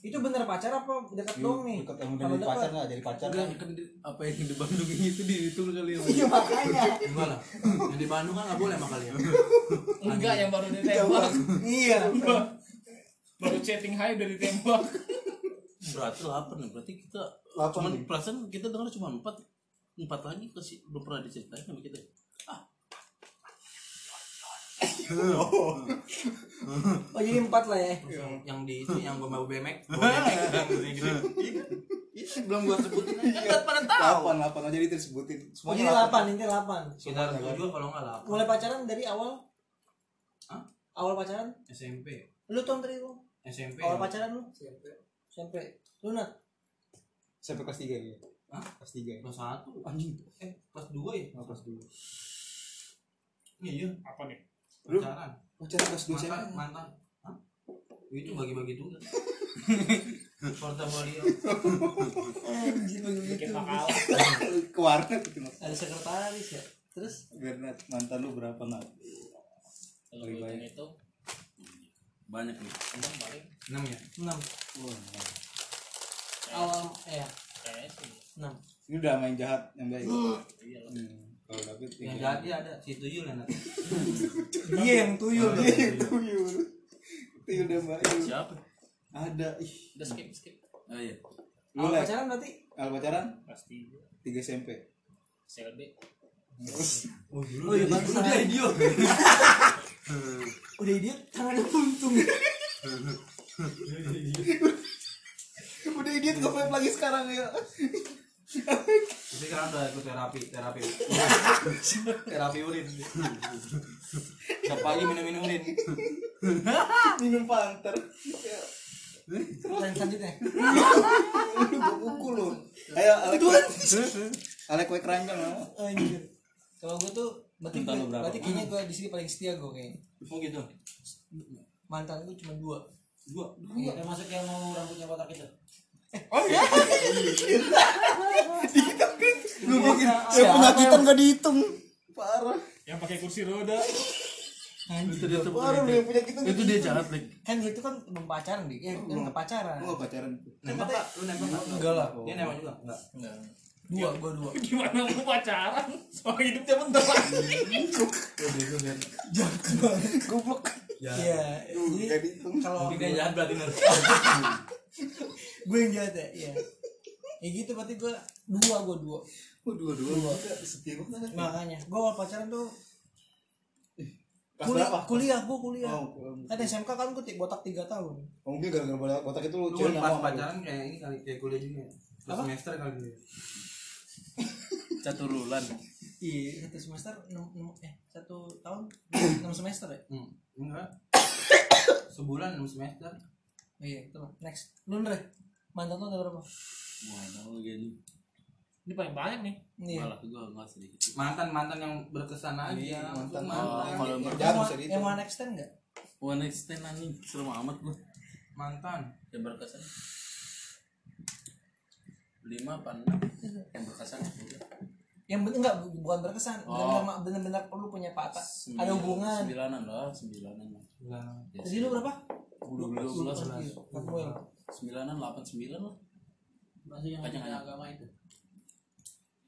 itu bener pacar apa Iya. dekat dong nih? Dekat emang jadi Kalau deket. pacar nggak jadi pacar kan? apa yang di Bandung itu dihitung kali ya? Iya makanya. Gimana? Yang di Bandung kan nggak boleh mah kali ya? Enggak, yang baru ditembak. Iya. baru chatting high udah ditembak. Berarti 8 ya. Berarti kita Lapan cuman nih. perasaan kita dengar cuma 4. 4 lagi kasih belum pernah diceritain sama kita. Oh jadi empat lah ya. Yang di itu yang gua mau bemek, gua bemek gitu, yang gede-gede. belum gua sebutin aja. Kan pada tahu. Lapan, lapan aja itu disebutin. Oh jadi delapan, ini delapan. Sekitar 7 kalau nggak Mulai pacaran dari awal? Hah? Awal pacaran? 8. SMP. Lu tahun tadi lu? SMP. Awal ya. pacaran lu? SMP. SMP. Lu nat? Sampai kelas tiga ya. Hah? Kelas tiga. ya? Kelas 1. Anjing. Eh, kelas 2 ya? Nah, kelas dua. Iya, Apa nih? Lu- pacaran. Pacaran Oh, kelas dua mantan siapa? mantan Hah? itu bagi-bagi tugas portofolio Bikin pakal. Ke warnet gitu mas. Ada sekretaris ya. Terus Bernat, mantan lu berapa nat? Kalau gue hitung itu, Banyak nih. emang paling enam ya enam. Wah, Nat. Awal ya kayaknya sih. enam. Ini udah main jahat yang baik. Iya lah. Hmm. Kalau David yang jadi ada si tuyul ya, yang nanti Iya yang tuyul. Iya, itu tuyul. Tuyul dan Bayu. Siapa? Ada. Ih. Udah skip skip. Ah iya. Lu Awal lek. pacaran berarti Al pacaran Pasti gue. tiga SMP. CLB. Oh iya bangsa. Udah idiot. Udah idiot tangannya buntung. Udah idiot nge lagi sekarang ya. tapi sekarang udah ikut terapi terapi terapi urin setiap pagi minum-minum urin Minum panter. Pertanyaan selanjutnya. Lu gua pukul lu. Ayo Alek. Alek kue keranjang lah. Anjir. Kalau gue tuh berarti Mantan lu berapa? berarti kayaknya gue di sini paling setia gue kayaknya. oh gitu Mantan gue cuma dua. gua Yang masuk yang mau rambutnya kotak itu. Oh, iya? Eh, Lu bikin. Ya punya kita enggak dihitung. Parah. Yang pakai kursi roda itu dia tuh Baru yang punya kita itu dia jahat lik kan itu kan belum pacaran dik ya kan ke pacaran Gue gak pacaran. Nembak nggak? Lu nembak nggak? enggak lah Dia nembak juga? Enggak. dua gua dua gimana mau pacaran soal hidupnya bentar lagi iya jadi kalau Tapi dia jahat berarti Nur. gue yang jahat ya iya ya gitu berarti gue dua gue dua Oh, dua-dua. Setia banget. makanya gue awal pacaran tuh Kelas kuliah berapa? kuliah gue kuliah Oh, kan SMK kan gue botak tiga tahun oh, mungkin gara-gara botak- botak itu Lu lu cewek pas nyamuk. pacaran kayak ini kali kayak kuliah juga. ya? Pas semester kali dia. caturulan iya satu semester enam enam- eh satu tahun enam semester ya Hmm. Enggak. Sebulan enam semester. Oh iya itu lah next lu Andre mantan lu ada berapa wah tahu gitu ini paling banyak nih iya malah gua enggak sedikit Mantan-mantan yang berkesan aja. Iya, mantan. oh, kalau yang Jangan berkesan bisa dihitung. yang one extend nggak one night stand anjing serem amat gua Mantan. yang berkesan lima apa enam yang berkesan sepuluh yang bener nggak bu- bukan berkesan Oh. bener-bener bener-bener perlu punya patah Sembilan- ada hubungan sembilanan lah sembilanan lah Ya, jadi lu berapa dua belas dua belas Iya, Samuel. sembilanan delapan sembilan lah Maksudnya yang Panjang punya aja. agama itu.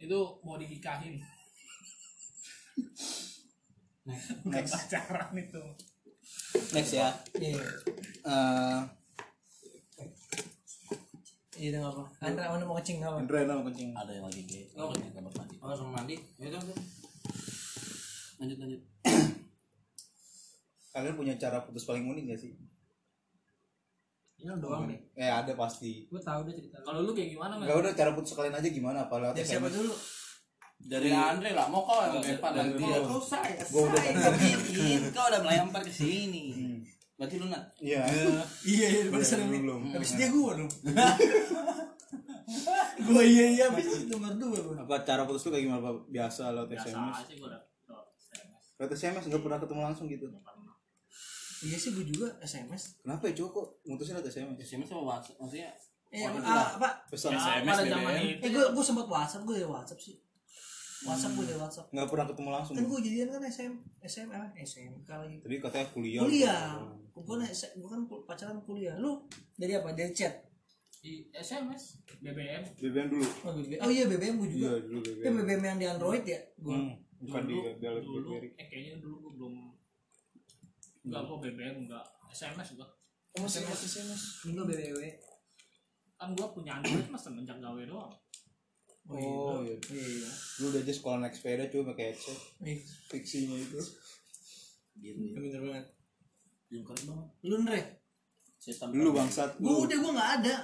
itu mau dinikahin Bukan pacaran itu Next ya. iya Eh, iya itu nggak apa Andre mana mau kencing nggak apa Andre nama kencing. ada yang lagi gay oh yang kamar mandi Oh, sama mandi. Ya udah. udah. Lanjut lanjut. Kalian punya cara putus paling unik gak sih? Ini lu doang nih. Eh ada pasti. Gue tahu deh cerita. lu. kalau lu kayak gimana Gak nggak udah cara putus kalian aja gimana? Apa lewat ya siapa SMS? dulu dari Dari Andre lah, mau kau yang Enggak, depan dari nanti. dia. Kau saya, Gua udah saya bikin. Kau udah melempar ke Hmm. sini. Berarti lu nat. Iya. iya iya Iya, dulu belum. Mm. Hmm. habis dia gua dong gua iya iya habis itu nomor dua gua Apa cara putus lu kayak gimana? Apa biasa lewat biasa SMS? aja gue udah udah SMS. Lewat SMS gak pernah ketemu langsung gitu. iya sih gue juga SMS Kenapa ya cowok kok mutusin lewat SMS? Siapa sama WhatsApp? Maksudnya eh Oh, ah, apa Pesan Ya, SMS pada zaman BBM. itu eh gue gue sempat WhatsApp gue ya WhatsApp sih WhatsApp gue ya WhatsApp Gak pernah ketemu langsung. kan gue jadian kan SM SM apa SMK lagi Tadi katanya kuliah. Iya, kuliah gue kan gue kan kul- pacaran kuliah lu dari apa dari chat di SMS BBM BBM dulu. oh, BBM. oh iya kan BBM gue juga Iya dulu itu BBM. BBM yang di Android ya gue Hmm, bukan di dulu dalam dulu BlackBerry. eh kayaknya dulu gue belum enggak gue BBM enggak SMS juga Masih SMS. enggak BBW kan gue punya Android mas semenjak gawe doang Oh iya. iya Lu udah aja sekolah naik sepeda cuma pakai headset. Ih, Iya, Fiksinya itu. gitu bener banget yang keren banget lu Andre setan Lu bangsat. gue Lu udah gue nggak ada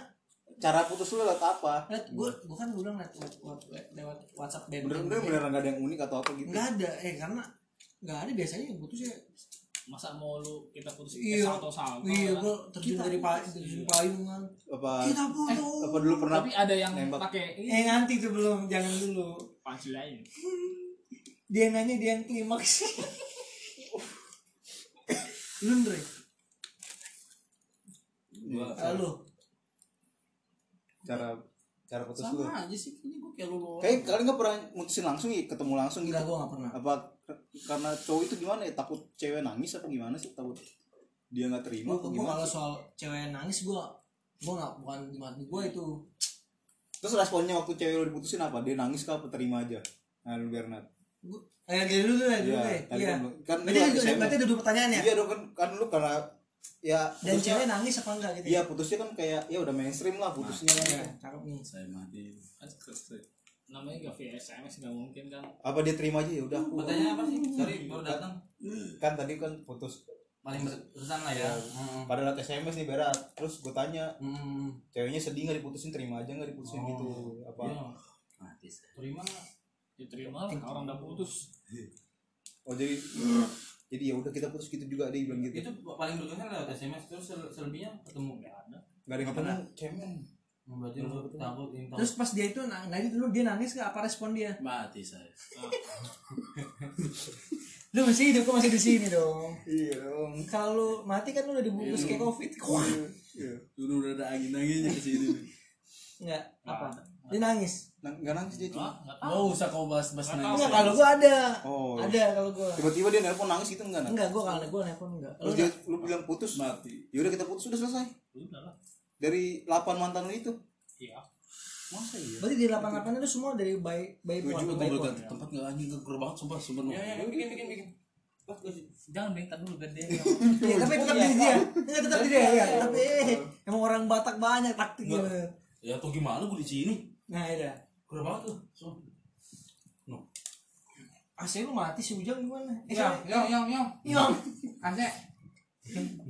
cara putus lu lewat apa? lihat gue gue kan gue udah ngeliat lewat- lewat- lewat WhatsApp BBM Bener-bener beneran gak ada yang unik atau apa gitu. Iya. nggak ada eh karena nggak ada biasanya yang putus ya masa mau lu kita putus eh, Iya. salto salto iya gue terjun dari pa- terjun payungan Apa kita putus Eh, apa dulu pernah tapi ada yang nembak. pakai ini eh nanti tuh belum jangan dulu panci lain dia yang nanya dia yang klimaks lu Andre gua halo cara cara putus lu? sama aja sih. Ini gue kayak lu doang. Kayak kalian gak pernah mutusin langsung ya, ketemu langsung gitu. enggak gue gak pernah Apa karena cowok itu gimana ya takut cewek nangis apa gimana sih takut dia nggak terima apa gue gimana kalau soal cewek yang nangis gue gue gak bukan di mati gue Iya. itu terus responnya waktu cewek lo diputusin apa dia nangis kah apa terima aja nah lu biar nat gue eh kayak dulu deh dulu Iya, deh tadi iya kan lu- kan berarti lu ada- SMS. berarti ada dua pertanyaan ya iya dong kan kan lu karena ya dan putusnya- cewek nangis apa enggak gitu iya putusnya kan kayak ya udah mainstream lah putusnya kan Iya, cakep nih saya mati kan se- namanya gak via SMS nggak mungkin kan apa dia terima aja ya udah aku Pertanyaannya apa sih? Sorry, baru datang. kan tadi kan putus Paling berkesan lah ya. Iya. Hmm. pada lewat sms nih berat terus gue tanya Hmm. ceweknya sedih nggak diputusin terima aja nggak diputusin Oh. gitu apa Iya. mati saya Terima. diterima ya lah orang udah putus oh jadi jadi ya udah kita putus gitu juga dia bilang gitu Itu paling berkesan lewat SMS terus sel- selebihnya ketemu nggak ada. nggak ada yang ketemu cewek Berarti lu takut ini takut. terus pas dia itu nang- nangis dulu dia nangis nggak apa respon dia mati saya lu masih hidup kok masih di sini dong iya dong kalau lu mati kan lu udah dibungkus kayak covid Iya. dulu udah ada angin anginnya ke sini Enggak. Apa? Nah. Dia nangis. Nang- nggak nangis dia cuma nggak tahu Gak usah kau bahas-bahas Nggak nangis. tahu. Enggak kalau gua ada. Oh. Ada kalau gua. tiba-tiba dia nelpon nangis gitu enggak nang Enggak, gua kalau gua nelpon enggak. terus Oh, Lu dia lu bilang putus Mati. yaudah kita putus udah selesai udah lah dari 8 mantan lu itu iya masa iya berarti di 88 itu semua dari by by Tujuh pon, aku by baru pon. ganti tempat gak anjing geger banget sumpah sebenarnya. bikin bikin bikin. Wah, gua sih. jangan minta dulu biar dia Iya, tapi tetap diri dia. Enggak tetap diri dia. iya. Tapi eh, Iya. emang orang Batak banyak taktik gitu. Ya atau gimana gue di sini? Nah, iya. Geger banget tuh. sumpah. AC lu mati si Ujang gimana? Eh, Yang, siapa? yang, yang, yang. Yang. Ase.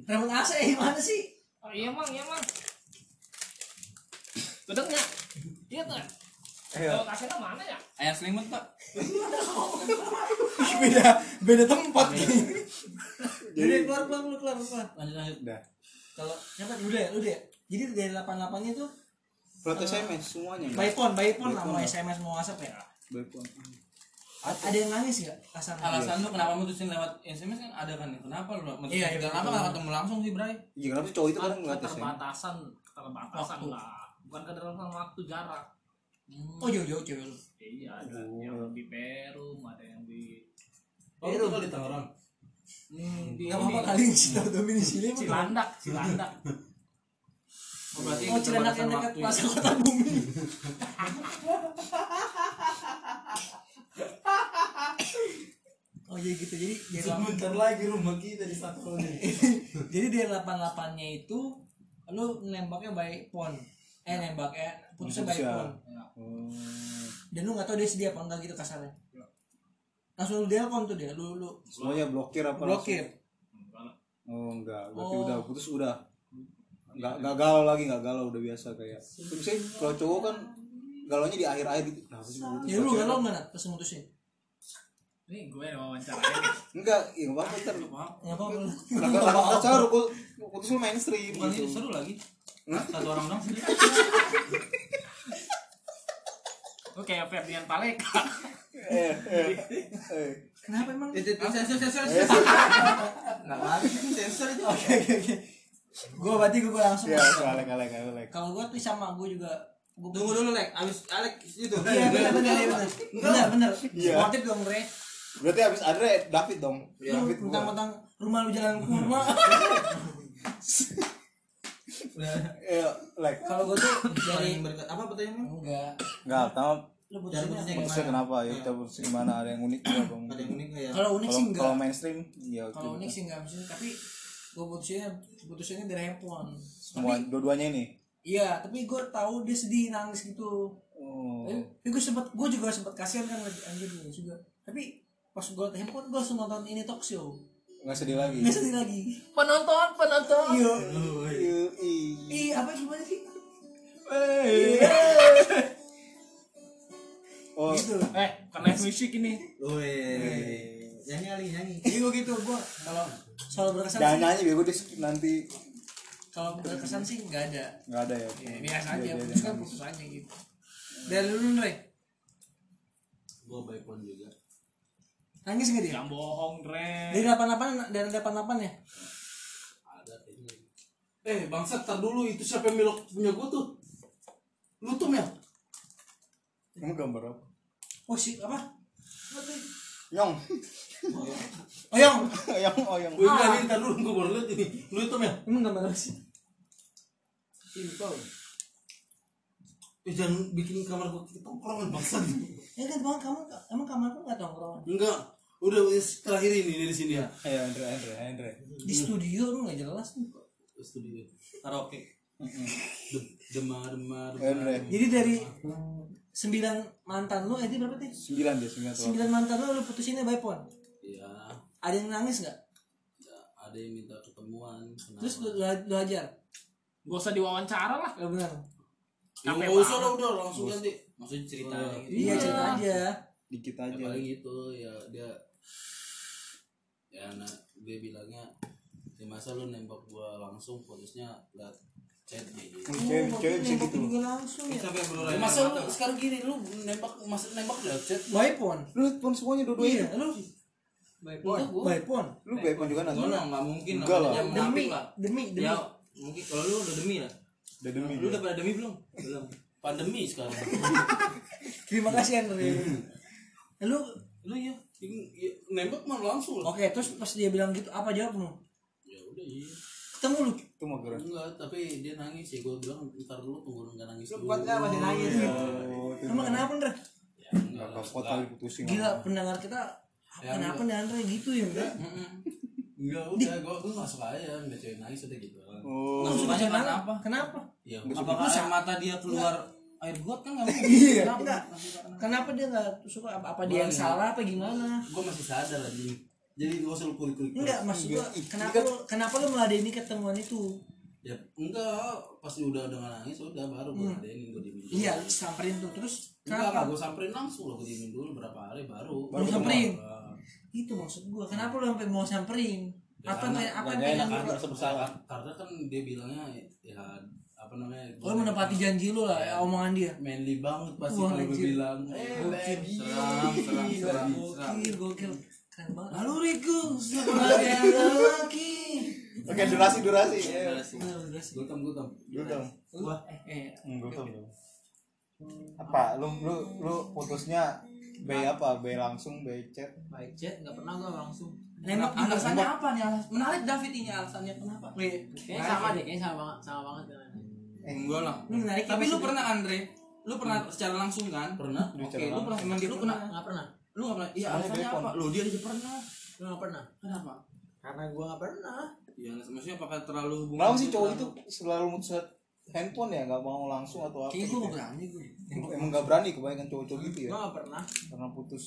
Remote AC gimana sih? oh iya mang iya mang Bener nggak? Iya tuh. Kalau kasirnya mana ya? Ayah selimut, Pak. beda beda tempat Iya. nih Jadi keluar keluar keluar keluar keluar. Lanjut, lanjut. udah Iya. Kalau siapa lu deh, lu deh. Jadi dari 88-nya tuh Berarti SMS semuanya by phone, by phone By lah phone mau lah. SMS mau WhatsApp ya. Baikon Ada yang nangis enggak? Kasar. Alasan lu kenapa mutusin lewat SMS kan ada kan? ya? Kenapa lu mutusin? Iya, iya. Kenapa nggak ketemu langsung sih, Bray? iya kenapa sih cowok itu kadang ngeliat SMS Keterbatasan, keterbatasan lah. Bukan keterbatasan waktu jarak. Oh, jauh-jauh cewek lu. Ya, iya ada Oh. yang di Perum, ada yang di Oh, lu tinggal di Tangerang. hmm, di Enggak apa-apa kali sih tahu domi di sini. apa gimana? Cilandak, Cilandak. Oh, berarti Oh, celana keterbatasan yang dekat waktu ya. pasar kota bumi. oh iya gitu jadi jadi Sebentar lagi rumah kita di satu ini. jadi dia delapan delapannya itu lu nembaknya by pon eh nembaknya putusnya by Putusnya. pon Oh. dan lu nggak tau dia sedia apa enggak gitu kasarnya langsung lu telepon tuh dia lu lu semuanya blokir apa blokir langsung? oh enggak berarti Oh. udah putus udah nggak nggak galau lagi nggak galau udah biasa kayak bisa kalau cowok kan galaunya di akhir akhir gitu kenapa sih putus? ya lu nggak lo nggak pas mutusin Ini gue yang wawancara. enggak ya nggak apa-apa ntar nggak apa apa Nah, kalau- kalau salah lu putus lu mainstream Bukan gitu. itu seru lagi. Satu orang doang sih. Gue kayak Ferdian Paleka. Eh, eh, eh. kenapa emang Itu itu nggak apa sensor itu oke oke oke gue berarti gue langsung Ya, kalek, kalek, kalek. kalau gue tuh sama gue juga gue Tunggu dulu, Lek. Abis Alek gitu. itu. iya benar benar iya, benar benar benar Iya. sportif dong Re Berarti abis Andre David dong. lu David bukan. mentang-mentang rumah lu jalan kurma Eh, like. kalau gue tuh dari Paling berkat apa pertanyaannya? enggak Enggak, pertama lu Dari putusinnya putusnya apa? putusnya kenapa? Ya kita putusin gimana? Ada yang unik enggak, Bang? Ada yang unik nggak ya? kalau unik Kalau sih kalau enggak mainstream ya kalau gitu. unik sih enggak maksudnya tapi gue putusinnya putusinnya dari handphone semua tapi dua-duanya ini. iya tapi gue tahu dia sedih nangis gitu Oh. tapi gue Eh, sempet gue juga sempet kasihan kan lagi anjir gue juga tapi pas gue liat handphone gue langsung nonton ini talk show Enggak sedih lagi. nggak sedih lagi Penonton, penonton. iya Yui. ih apa gimana sih Oh, gitu Eh, bukan live music ini. Woi. Nyanyi Ali, nyanyi. jadi gue gitu gue kalau soal berkesan jangan sih- nyanyi biar gue di skip nanti. kalau berkesan sih nggak ada Enggak ada ya. ya, biasa Dia- aja dia- putus dia kan nangis. putus aja gitu dari lu Andre Gua by phone juga. nangis nggak dia Yang bohong, Dre. dari delapan delapan dari delapan delapan ya Ada kayaknya. Eh, bangsat tar dulu itu siapa yang milok punya gua tuh? Lu tuh Mel. Kamu gambar apa? oh si apa Nyong. oh yang Yang oh yang. Gue bilang ntar dulu gua baru lihat ini. Lu ya? tuh Mel. emang nggak malu sih Ini tau. Eh, jangan bikin kamar gua ketongkrongan bangsat. ya kan bang kamu emang kamar aku nggak tongkrongan Enggak. Udah wis, terakhir ini dari sini ya. Ya Andre, Andre, Andre. di studio lu nggak jelas nih Studio. Karaoke. Dem- Demar, demar, Andre. demar. jadi dari sembilan mantan lu eh, itu berapa teh Sembilan dia, sembilan. tuh. sembilan mantan lu lu putusinnya by phone Iya. ada yang nangis nggak Ada yang minta ketemuan. Nah, kenapa? terus lu, lu, lu hajar Gak usah diwawancara lah. ya benar Ya, Capek nggak usah banget. lah udah langsung ganti. Maksudnya ceritanya gitu. iya cerita aja Dikit Ya, aja. paling itu ya dia ya nah, dia bilangnya ya masa lu nembak gua langsung putusnya liat chat gitu. Cewek, cewek bisa nembak gitu. juga langsung ya Sampai berulai. Ya, masa lu sekarang gini lu nembak masa nembak liat chat by phone Lu pun semuanya dua-duanya. iya lu by phone Lu baik juga nanti. Gimana? Nggak mungkin lah. Enggak lah. Maksudnya demi munafik lah. demi demi Ya, mungkin kalau lu udah demi lah. Udah demi. Lu udah pada demi belum? Belum. pandemi sekarang Terima kasih Andre. Lu lu iya. ya ini- ya, nembak mah langsung lah oke terus pas dia bilang gitu apa jawab lu? ya udah iya Ketemu lu. itu mau gerak enggak tapi dia nangis ya gue bilang ntar dulu tunggu nggak nangis dulu Kuat nggak masih nangis? gitu. oh, itu Emang kenapa Andre? ya enggak lah Gak kuat kali putusin Gila pendengar kita kenapa nih Andre gitu ya enggak? enggak udah gue gue nggak suka aja nggak cewek nangis udah gitu doang. oh Nggak suka aja karena apa? Kenapa? ya Apakah air mata dia keluar air got kan nggak mungkin? Iya. Kenapa? Enggak. Kenapa dia nggak suka apa, apa dia yang salah apa gimana? gue masih sadar anjing jadi gue selalu kulik-kulik Enggak, maksud gua kenapa lu, kenapa lu meladeni ketemuan itu? ya enggak pas udah udah nggak nangis udah baru gue adenin gue diemin dulu. Iya, lu samperin tuh terus enggak kenapa? gue samperin langsung loh gue diemin dulu berapa hari baru Baru samperin? Nah, Itu maksud gua. Kenapa lu sampai mau samperin? Ya, Apa karena yang apa nggak yang pengen enak lu? kan merasa bersalah karena kan dia bilangnya ya apa namanya Lu menepati janji lu lah, ya, omongan dia. manly banget pasti Wah, kalau gue anjir. bilang eh baby Seram, seram, seram. Gokil, gokil. Keren banget. Lalu Riku Sebagai lelaki. Oke, durasi durasi. Udah, udah sih. gutam gutam Lu dong. Eh, eh, Enggak tahu. Apa lu lu lu putusnya B apa? B langsung, B chat. Baik chat, nggak pernah gua langsung. nembak juga Alasannya apa nih? Alas menarik David ini alasannya kenapa? Kayaknya sama deh, kayaknya sama banget, sama banget. dengan- Enggak lah. Lu menarik ya, Eh, Tapi lu maksudnya? pernah Andre? Lu pernah secara langsung kan? pernah Oke, Hmm. Secara lu pernah Gitu, emang dia Lu lu pernah? pernah? Nggak pernah. Lu nggak pernah? Iya, Soalnya alasannya dia kon- apa? Lu dia aja pernah. Lu nggak pernah. Kenapa? Karena gua nggak pernah. Iya, maksudnya apakah terlalu hubungan? Kenapa sih itu cowok itu terlalu- selalu mutus handphone ya? Gak mau langsung atau apa? Iya, Kayaknya gua gitu nggak ya? berani gua. Emang- Emang gak berani kebanyakan cowok-cowok gitu ya? Gua nggak pernah. Karena putus.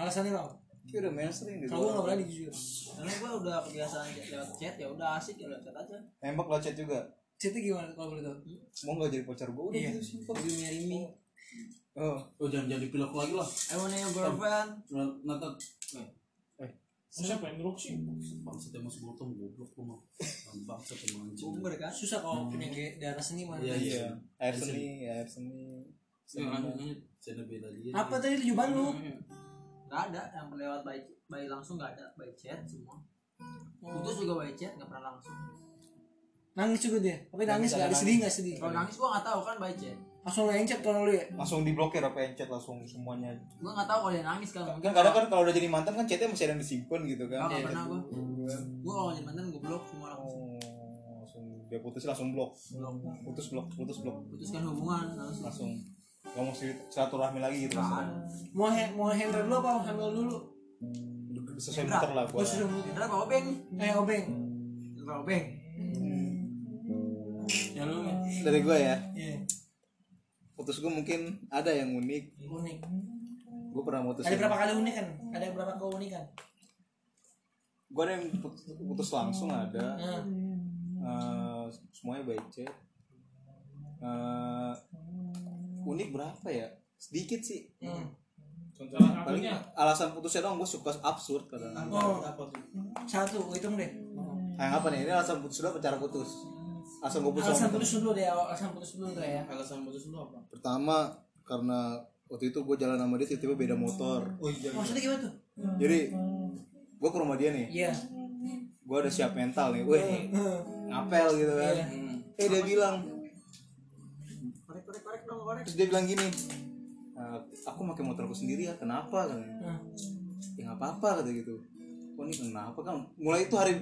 Alasannya apa? Kayak udah mainstream gitu. Kalau gua nggak berani jujur. Karena gua udah kebiasaan chat lewat chat, ya udah asik ya lewat chat aja. Hmm? Nembak lah chat juga. Chatnya gimana kalau boleh tahu? Mau gak jadi pacar gue? Udah gitu simpel. You marry me. Oh, oh jangan jadi pilok lagi lah I wanna your girlfriend. nah, nata eh siapa yang ngeruk sih bangsat emang sebotong goblok lu mah bangsat emang anjing Bumber kan. Susah kalau punya gaya- daerah seniman. Iya, iya. iya. Air seni, air seni. Iya, lanjut, lanjut. Sana beda dia. Apa tadi tujuan lu? Gak Hmm. ada yang lewat by, by langsung gak ada by chat semua. Putus juga by chat gak pernah langsung. Nangis juga dia. Tapi nangis nggak ada sedih nggak sedih. Kalau nangis gua gak tahu kan by chat. Langsung lencet kalau lu ya. Langsung diblokir apa yang chat langsung semuanya. Gua gak tahu kalau dia nangis kan Kan mungkin. kadang kan kalau udah jadi mantan kan chatnya masih ada yang disimpan gitu kan. Gak gak pernah gua. Iya. Gua kalau jadi mantan gua blok semua langsung. Oh, langsung dia putus langsung blok putus blok putus blok Putuskan hubungan langsung. langsung nggak mau silat- silaturahmi lagi gitu Gak Nah, langsung ada. Mau he mau handle dulu apa handle dulu? sesuai muter lah gua Gua sudah mau. Hendra bawa obeng. Eh obeng. Hendra obeng. Ya lu nih. dari gua ya Iya. putus gua mungkin ada yang unik Unik. gua pernah putus Ada berapa kali unik kan? Ada berapa keunikan? gua ada yang putus, putus langsung ada Nah, Hmm. Eh, semuanya by chat Eh, unik berapa ya sedikit sih hmm. contohnya paling akunya alasan putusnya dong gua suka absurd kadang Oh, satu, hitung deh. yang apa nih ini alasan putus dulu apa cara putus alasan gua putus Alasan sama- putus dulu deh, awal- alasan putus dulu Andre ya. Alasan putus lu apa? pertama karena waktu itu gue jalan sama dia tiba-tiba beda motor Oh, iya. Maksudnya gimana tuh? jadi gue ke rumah dia nih Iya. gue udah siap mental nih weh Hmm. ngapel gitu kan Iya. eh dia bilang Korek korek korek dong korek. terus dia bilang gini "Eh, aku pakai motorku sendiri ya kenapa kan ya nggak apa-apa kata gitu oh ini kenapa kan mulai itu hari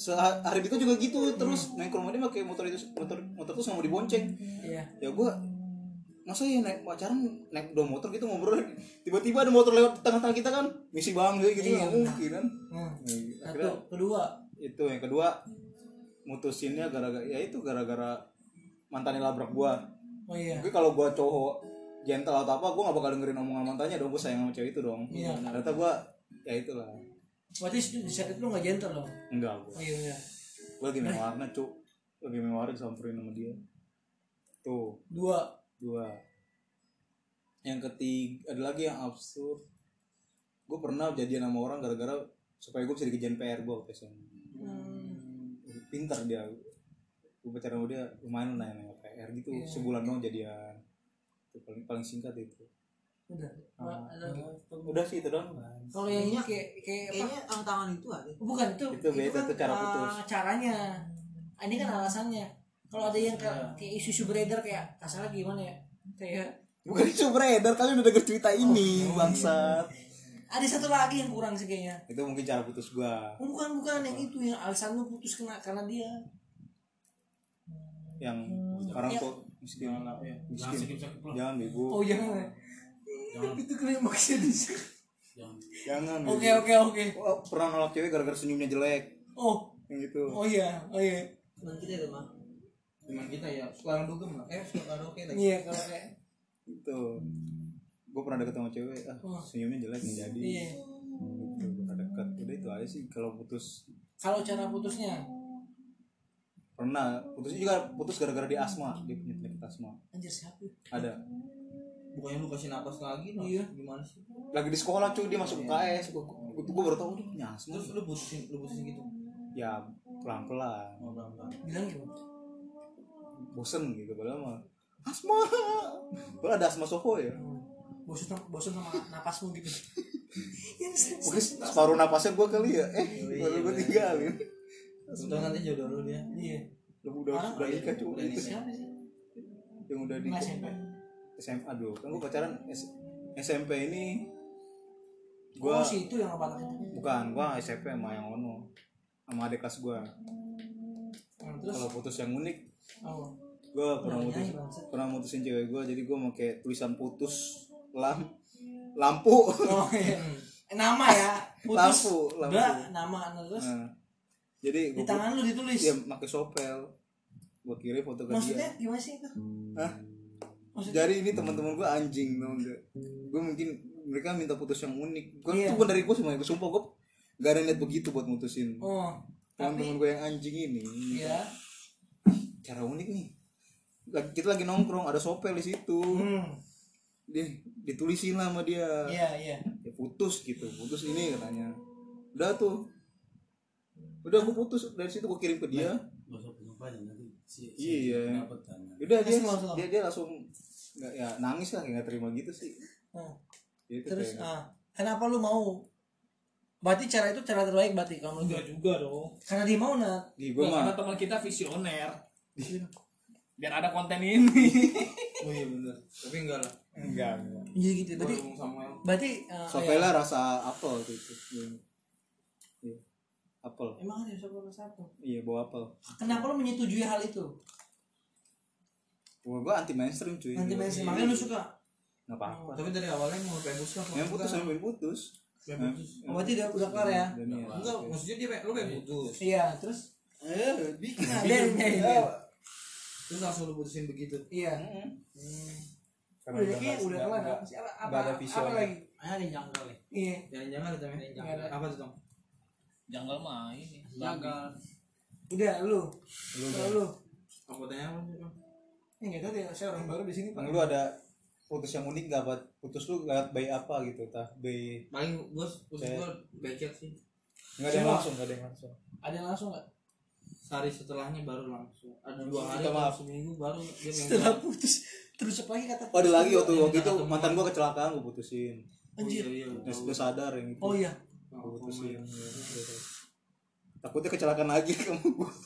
sehari itu juga gitu terus naik ke rumah dia pakai motor itu motor motor terus nggak mau dibonceng Iya. ya gue masa ya naik pacaran naik dua motor gitu ngobrol tiba-tiba ada motor lewat di tengah-tengah kita kan misi bang gitu gitu nggak mungkin kan Hmm. Ya, akhirnya Iya, Satu, kedua. itu yang kedua mutusinnya gara-gara ya itu gara-gara mantannya labrak gua Oh iya. mungkin kalau gua cowok gentle atau apa gua gak bakal dengerin omongan mantannya dong gua sayang sama cewek itu dong Nah, Iya. ternyata gua ya itulah Berarti di di saat itu lu nggak gentle dong? enggak gua Oh iya iya. gua lagi main warnet cuk lagi main warnet samperin sama dia tuh Dua. dua yang ketiga ada lagi yang absurd gue pernah jadian sama orang gara-gara supaya gue bisa dikejain PR gue waktu SMA Hmm. pinter dia gue pacaran sama dia lumayan lah nanya PR gitu Iya. sebulan doang jadian itu paling paling singkat itu Udah. Ah. Wah, ada lagi. udah sih itu doang Kalau yang ini kayak kayak apa? Kayaknya tangan tangan itu ada. Bukan itu. kan, Itu beda, itu cara eh, putus. caranya. Ini kan alasannya. kalau ada yang kayak kayak isu-isu beredar kayak asalnya gimana ya kayak Bukan isu beredar, kalian udah denger cerita ini, Oh, iya. bangsat. ada satu lagi yang kurang sih kayaknya Itu mungkin cara putus gua bukan bukan yang itu yang alasan lu putus kena karena dia yang orang Iya. tuh miskin lah ya. jangan Miskin. sakit sakit lah Jangan bego. oh jangan ya Jangan. itu kena maksudnya di sini. jangan Jangan. Iya. oke bego. oke oke Gua Oh, pernah nolak cewek gara-gara senyumnya jelek. gitu. oh Yang itu. oh iya oh iya teman kita itu mah teman kita ya suara dugem lah eh suara karaoke lagi iya kalau kayak Itu. Gitu. Gua pernah deket sama cewek, ah Oh. senyumnya jelek nggak jadi. iya Gitu, gua pernah deket. Udah itu aja sih kalau putus kalau cara putusnya pernah putusnya juga putus gara-gara dia asma dia punya penyakit asma anjir siapa ya? ada bukannya lu kasih napas lagi no. Iya. gimana sih lagi di sekolah cuy dia masuk UKS gua, gua, gua baru tau dia punya asma Iya. terus lu putusin lu putusin gitu ya pelan-pelan ngobrol bilang ya, gimana bosen gitu padahal mah asma padahal ada asma sofo ya bosan sama- bosan sama napasmu gitu yang serius. mungkin separuh napasnya gua kali ya eh Iya, baru gua tinggalin Untung nanti jodoh lu dia iya udah udah Orang udah nikah cuy udah itu nikah. siapa sih yang udah di Mas SMP SMA dulu kan gua pacaran S- SMP ini oh gua si itu yang apa namanya bukan gua SMP sama yang ono sama adik kelas gua Nah, terus kalau putus yang unik oh gue pernah Udah mutus nyanyi, bangsat. pernah mutusin cewek gue jadi gue pakai tulisan putus lam lampu Oh iya. Nama ya, putus. Lampu, lampu. Udah, nama nah, terus Nah, jadi di gue tangan lu ditulis. ya pakai sopel gue kirim foto ke Maksudnya dia gimana sih itu? Hah? Maksudnya jadi ini teman-teman gue anjing tau gak gue mungkin mereka minta putus yang unik gue Iya. tuh bener dari gue semuanya gue sumpah gue gak ada niat begitu buat mutusin oh, teman-teman gue yang anjing ini ya. cara unik nih Lagi- kita lagi nongkrong ada sopel di situ Hmm. dia ditulisin lah sama dia Iya, iya. ya putus gitu putus ini katanya udah tuh udah gue putus dari situ gue kirim ke dia Nah. gak usah punya banyak nanti si Iya. dapat kan udah dia Langsung, langsung. dia dia langsung nggak ya nangis lah kayak nggak terima gitu sih Hmm. Gitu Terus kayak, ah, kenapa lu mau? Berarti cara itu cara terbaik berarti kalau enggak juga dong karena dia mau nah. di gue Gua karena mah teman kita visioner biar ada konten ini oh iya bener tapi enggak lah enggak enggak Iya gitu. Berarti ngomong sama berarti ah, ya. Sopela rasa apel gitu Iya. apel Emang ada siapa nomor satu? iya bawa apel Kenapa lu menyetujui hal itu? gue gue anti mainstream cuy Nanti Gila. mainstream makanya lu suka. nggak Oh, apa tapi dari awalnya mau pengen putus apa yang putus yang putus pengen putus Oh, berarti udah udah kelar ya. Dan iya. enggak maksudnya dia pengen- lu pengen putus Iya, terus eh bikin nah, dia dia- dia. terus langsung lu putusin begitu Iya. Karena Udah udah kayaknya nggak- udah nggak- kelar nggak- apa sih? Apa- apa- nggak ada apa visionnya. lagi? ah ada yang janggal nih Iya. jangan jangan kita main janggal apa tuh tong janggal mah ini Iya, janggal kan? Udah lu. Lu. lu. apa tanya apa tuh Tong? Ya enggak tahu deh, saya orang baru di sini Yang Pak. kan lu ada putus yang unik nggak buat putus lu lewat bayi apa gitu tah bayi paling gue putus Saya- gue becet sih nggak ada yang Semua. langsung nggak ada yang langsung Ada yang langsung enggak? sehari setelahnya baru langsung ada Iya, dua hari Minta maaf. atau seminggu baru dia pengen Setelah putus terus apa lagi kata? oh ada lagi waktu Iya, Yang waktu itu ketemu. mantan gua kecelakaan gua putusin Oh, Anjir. iya, iya, terus tahu. gua sadar yang itu Oh iya. gua Oh, putusin Iya. takutnya kecelakaan lagi kamu gua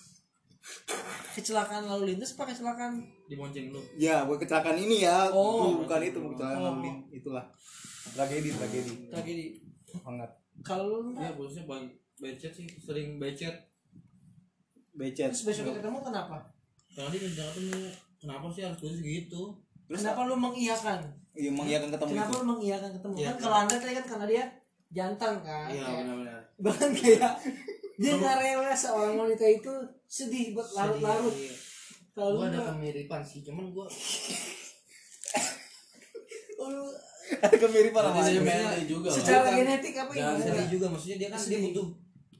Kecelakaan lalu lintas apa kecelakaan? dibonceng lu ya gua kecelakaan ini ya Oh. bukan itu bukan kecelakaan Oh. lalu lintas. itulah tragedi tragedi Tragedi. hangat Kalau lu Iya, bosnya banyak becet sih, sering becet. becet terus besok ketemu kenapa? Karena dia jangan ketemu. Kenapa sih harus putus gitu? Kenapa lu mengiyakan? iya mengiyakan ketemu Kenapa itu lu mengiyakan ketemu? Iya. Kan kalau Anda tadi kan karena dia jantan kan. Iya, Kayak- benar-benar. Bahkan kayak dia nggak rela seorang wanita itu sedih buat larut-larut. Sedih, iya. Kalau Gua lu ada nggak- kemiripan sih, cuman gua Oh, lu- ada kemiripan Iya, sama Jadi anjing. sebenarnya juga lah. secara bukan. genetik apa Jangan ini? kan sedih juga maksudnya dia kan dia Sedih. butuh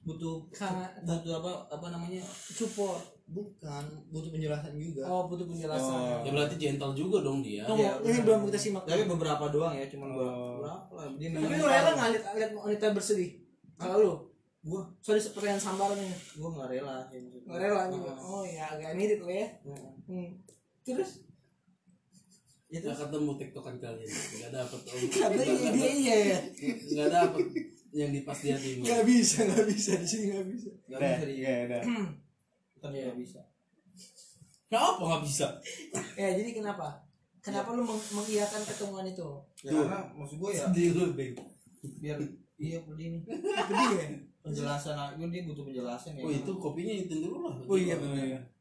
butuh Karena butuh apa apa namanya? support. Bukan, butuh penjelasan juga. Oh, butuh penjelasan. ya berarti gentle juga dong dia Tunggu, Iya, ini benar. belum kita simak. Tapi beberapa doang ya, cuman gua Oh. berapa lah dia Tapi nemuin lu rela tahu. nggak lihat lihat wanita bersedih? Kalau lu? Gua Sorry, pertanyaan sambaran ini. gua enggak rela. ya, maksudnya. Nggak rela juga. Heeh. Oh ya, agak mirip lah ya. Heeh. Hmm. Terus? Iya. Itu nggak ketemu tiktokan kalian nggak dapet om Kata iya, dia iya ya. nggak dapet yang di pas dia timur Nggak bisa, nggak bisa di sini nggak bisa. enggak iya, Udah, bisa di iya, udah. kita nggak bisa. Kenapa nggak bisa? ya jadi kenapa kenapa lu meng- mengiyakan ketemuan itu Ya, karena maksud gue ya Di lu bego. biar iya begini ya? penjelasan aku dia butuh penjelasan ya Oh itu kopinya itu dulu lah.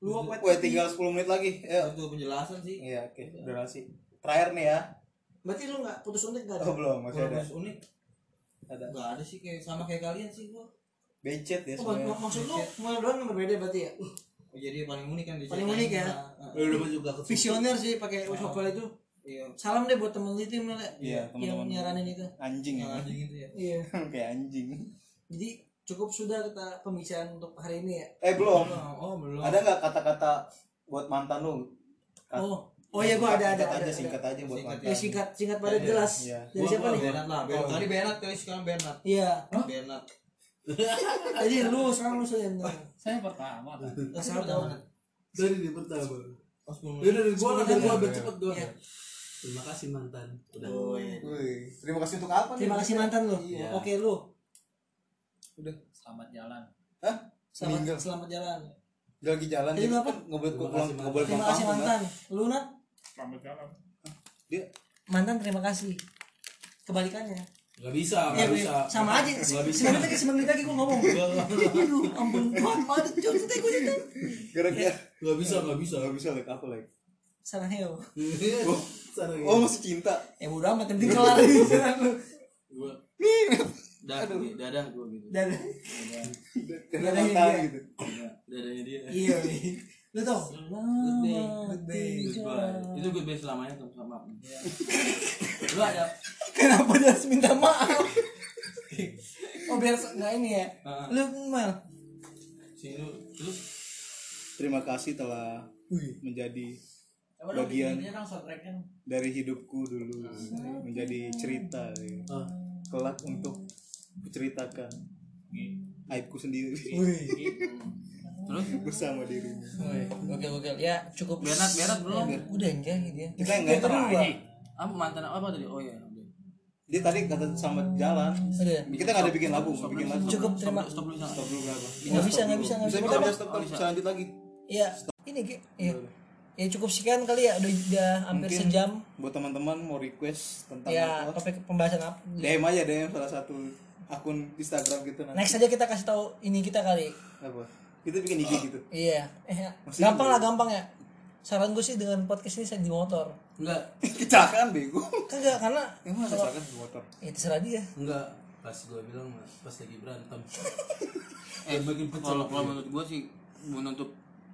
lu apa Wah, tinggal 10 menit lagi ya butuh penjelasan sih iya oke durasi terakhir nih ya berarti lu nggak putus untik nggak ada oh belum masih ada unik. ada Gak ada sih kayak sama kayak kalian sih gua. becet ya oh, mak- semuanya maksud lu cuma doang yang berbeda berarti ya Iya, Oh, jadi yang paling unik kan di Paling sini. unik ya? Nah, Iya, Lu udah juga ke visioner sih pakai usopel itu Iya. salam deh buat temen lu itu yang mana- Iya, yang teman-teman. nyaranin itu anjing ya Yang anjing itu ya. iya kayak anjing jadi cukup sudah kita pembicaraan untuk hari ini ya eh belum Oh, belum. ada nggak kata-kata buat mantan lu Kat- oh oh ya gua ada ada singkat ada aja ada. singkat aja buat Singkat mantan ya singkat singkat pada jelas Iya. dari siapa nih Oh, Bernat lah. Kalau tadi Bernat guys, sekarang Bernat. iya Bernat. jadi lu sekarang lu sudah yang tahu. Saya pertama kan. Nggak salah tahu Dari di pertama. Oh, 10 menit. Udah dari gua lah, dari gua biar cepet gua. Iya. Terima kasih mantan. Udah. Oh, iya. Wih, terima kasih untuk apa nih terima kasih mantan lu Iya. oke lu Selamat jalan. Hah? Meninggal. selamat selamat jalan Udah lagi jalan Jadi jadi lu apa? kan nggak boleh Terima pulang kasih, nggak boleh pulang terima kasih kampung, kan? mantan lu nat Selamat jalan. dia mantan terima kasih kebalikannya Gak bisa, Iya, gak bisa. sama aja. Se- Nggak bisa. Sembilan menit lagi, sembilan menit lagi gue ngomong. Aduh, ampun, Tuhan, padat jauh kita gue itu. gara-gara Gak bisa, gak bisa. nggak bisa like aku like Sarah Heo. Sana oh masih cinta Ya bodo amat, yang penting kelar. Gua. Dah, dadah gua gitu. Dan karena Gara-gara mantan dia. gitu Dadahnya dia. iya, wih. lu tau? Good day. Selamat Good day. Goodbye. tinggal. Itu gue selamanya tuh sama. Lu ada Kenapa dia harus minta maaf? Oh biar se- nggak ini ya? Heeh. Lu mal. si lu terus terima kasih telah menjadi Coba dong Bagian. bikinnya dong soundtracknya. dong. dari hidupku dulu menjadi cerita ya. Ah. kelak untuk kuceritakan aibku sendiri terus bersama dirimu Oke oke ya cukup. Bernat Bernat belum. Iya. Udah gitu ya. aja dia. kita nggak terlalu Apa mantan apa tadi? Oh iya. udah. dia tadi kata sama jalan Udah. kita nggak ada bikin lagu nggak bikin lagu Cukup terima. Stop dulu sana. stop dulu kenapa Nggak bisa nggak bisa nggak bisa bisa. bisa bisa stop stop bisa lanjut lagi Iya. Ini Ge. Iya. Ya cukup sekian kali ya udah udah hampir Mungkin sejam. buat teman-teman mau request tentang Ya apa topik pembahasan apa? DM aja DM salah satu akun Instagram gitu nanti Next aja kita kasih tahu ini kita kali. apa kita bikin IG gitu Iya. Eh, gampang lah gampang ya. Saran gue sih dengan podcast ini saya di motor. Enggak, kecelakaan bego Kagak karena emang ada kecelakaan di motor ya terserah dia. enggak. Pas gua bilang pas lagi berantem. Eh bagi kalau Iya. kalau menurut gua sih menutup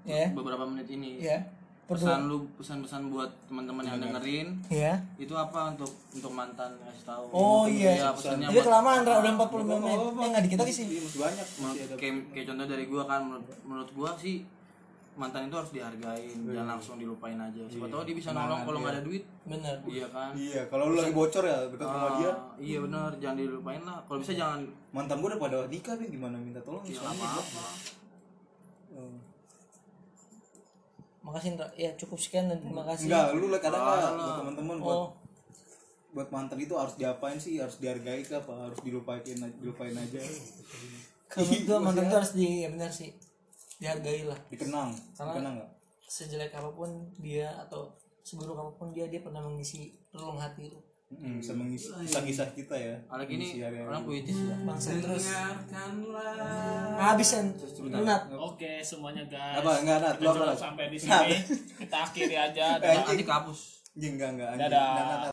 Ya. beberapa menit ini. Ya. Berdua. Pesan lu pesan-pesan buat teman-teman Iya, yang dengerin Ya. itu apa untuk untuk mantan ngasih tahu. Oh iya. Iya, pesannya Jadi buat- kelamaan Ra, udah 40 menit. Eh enggak dikit lagi sih. Iya, masih banyak masih Menurut- ada kayak, kayak contoh dari gua kan menurut, menurut gua sih mantan itu harus dihargain Iya. jangan langsung dilupain aja siapa tahu dia bisa nolong kalau nggak ada duit Bener. iya kan Iya, kalau lu lagi bocor ya dekat rumah dia, Ah, iya benar jangan dilupain lah kalau bisa jangan mantan gua udah pada nikah nih, gimana minta tolong ya misalnya. apa apa Makasih Ra. Ya cukup sekian dan terima kasih. Enggak, lu lah kadang lah Parah lah. buat teman-teman buat Oh, buat mantan itu harus diapain sih? Harus dihargai kah apa harus dilupain dilupain aja? kalau gue mantan tuh harus di ya benar sih. Dihargai lah. Dikenang, Karena- dikenang enggak? sejelek apapun dia atau seburuk apapun dia dia pernah mengisi relung hati lu Mm, bisa mengisi kisah-kisah kita ya. Alek ini Mengisi hari-hari. orang puitis ya bangsa terus Dengarkanlah. habis kan lunat Oke, semuanya guys. Apa, enggak, Nat, lu Kita apa, cukup Nat? sampai di Nat. sini. Kita akhiri aja. Eh, Dadah. nanti kapus Anjing, Ya, enggak enggak. anjing. Dadah. Nah, nah, nah.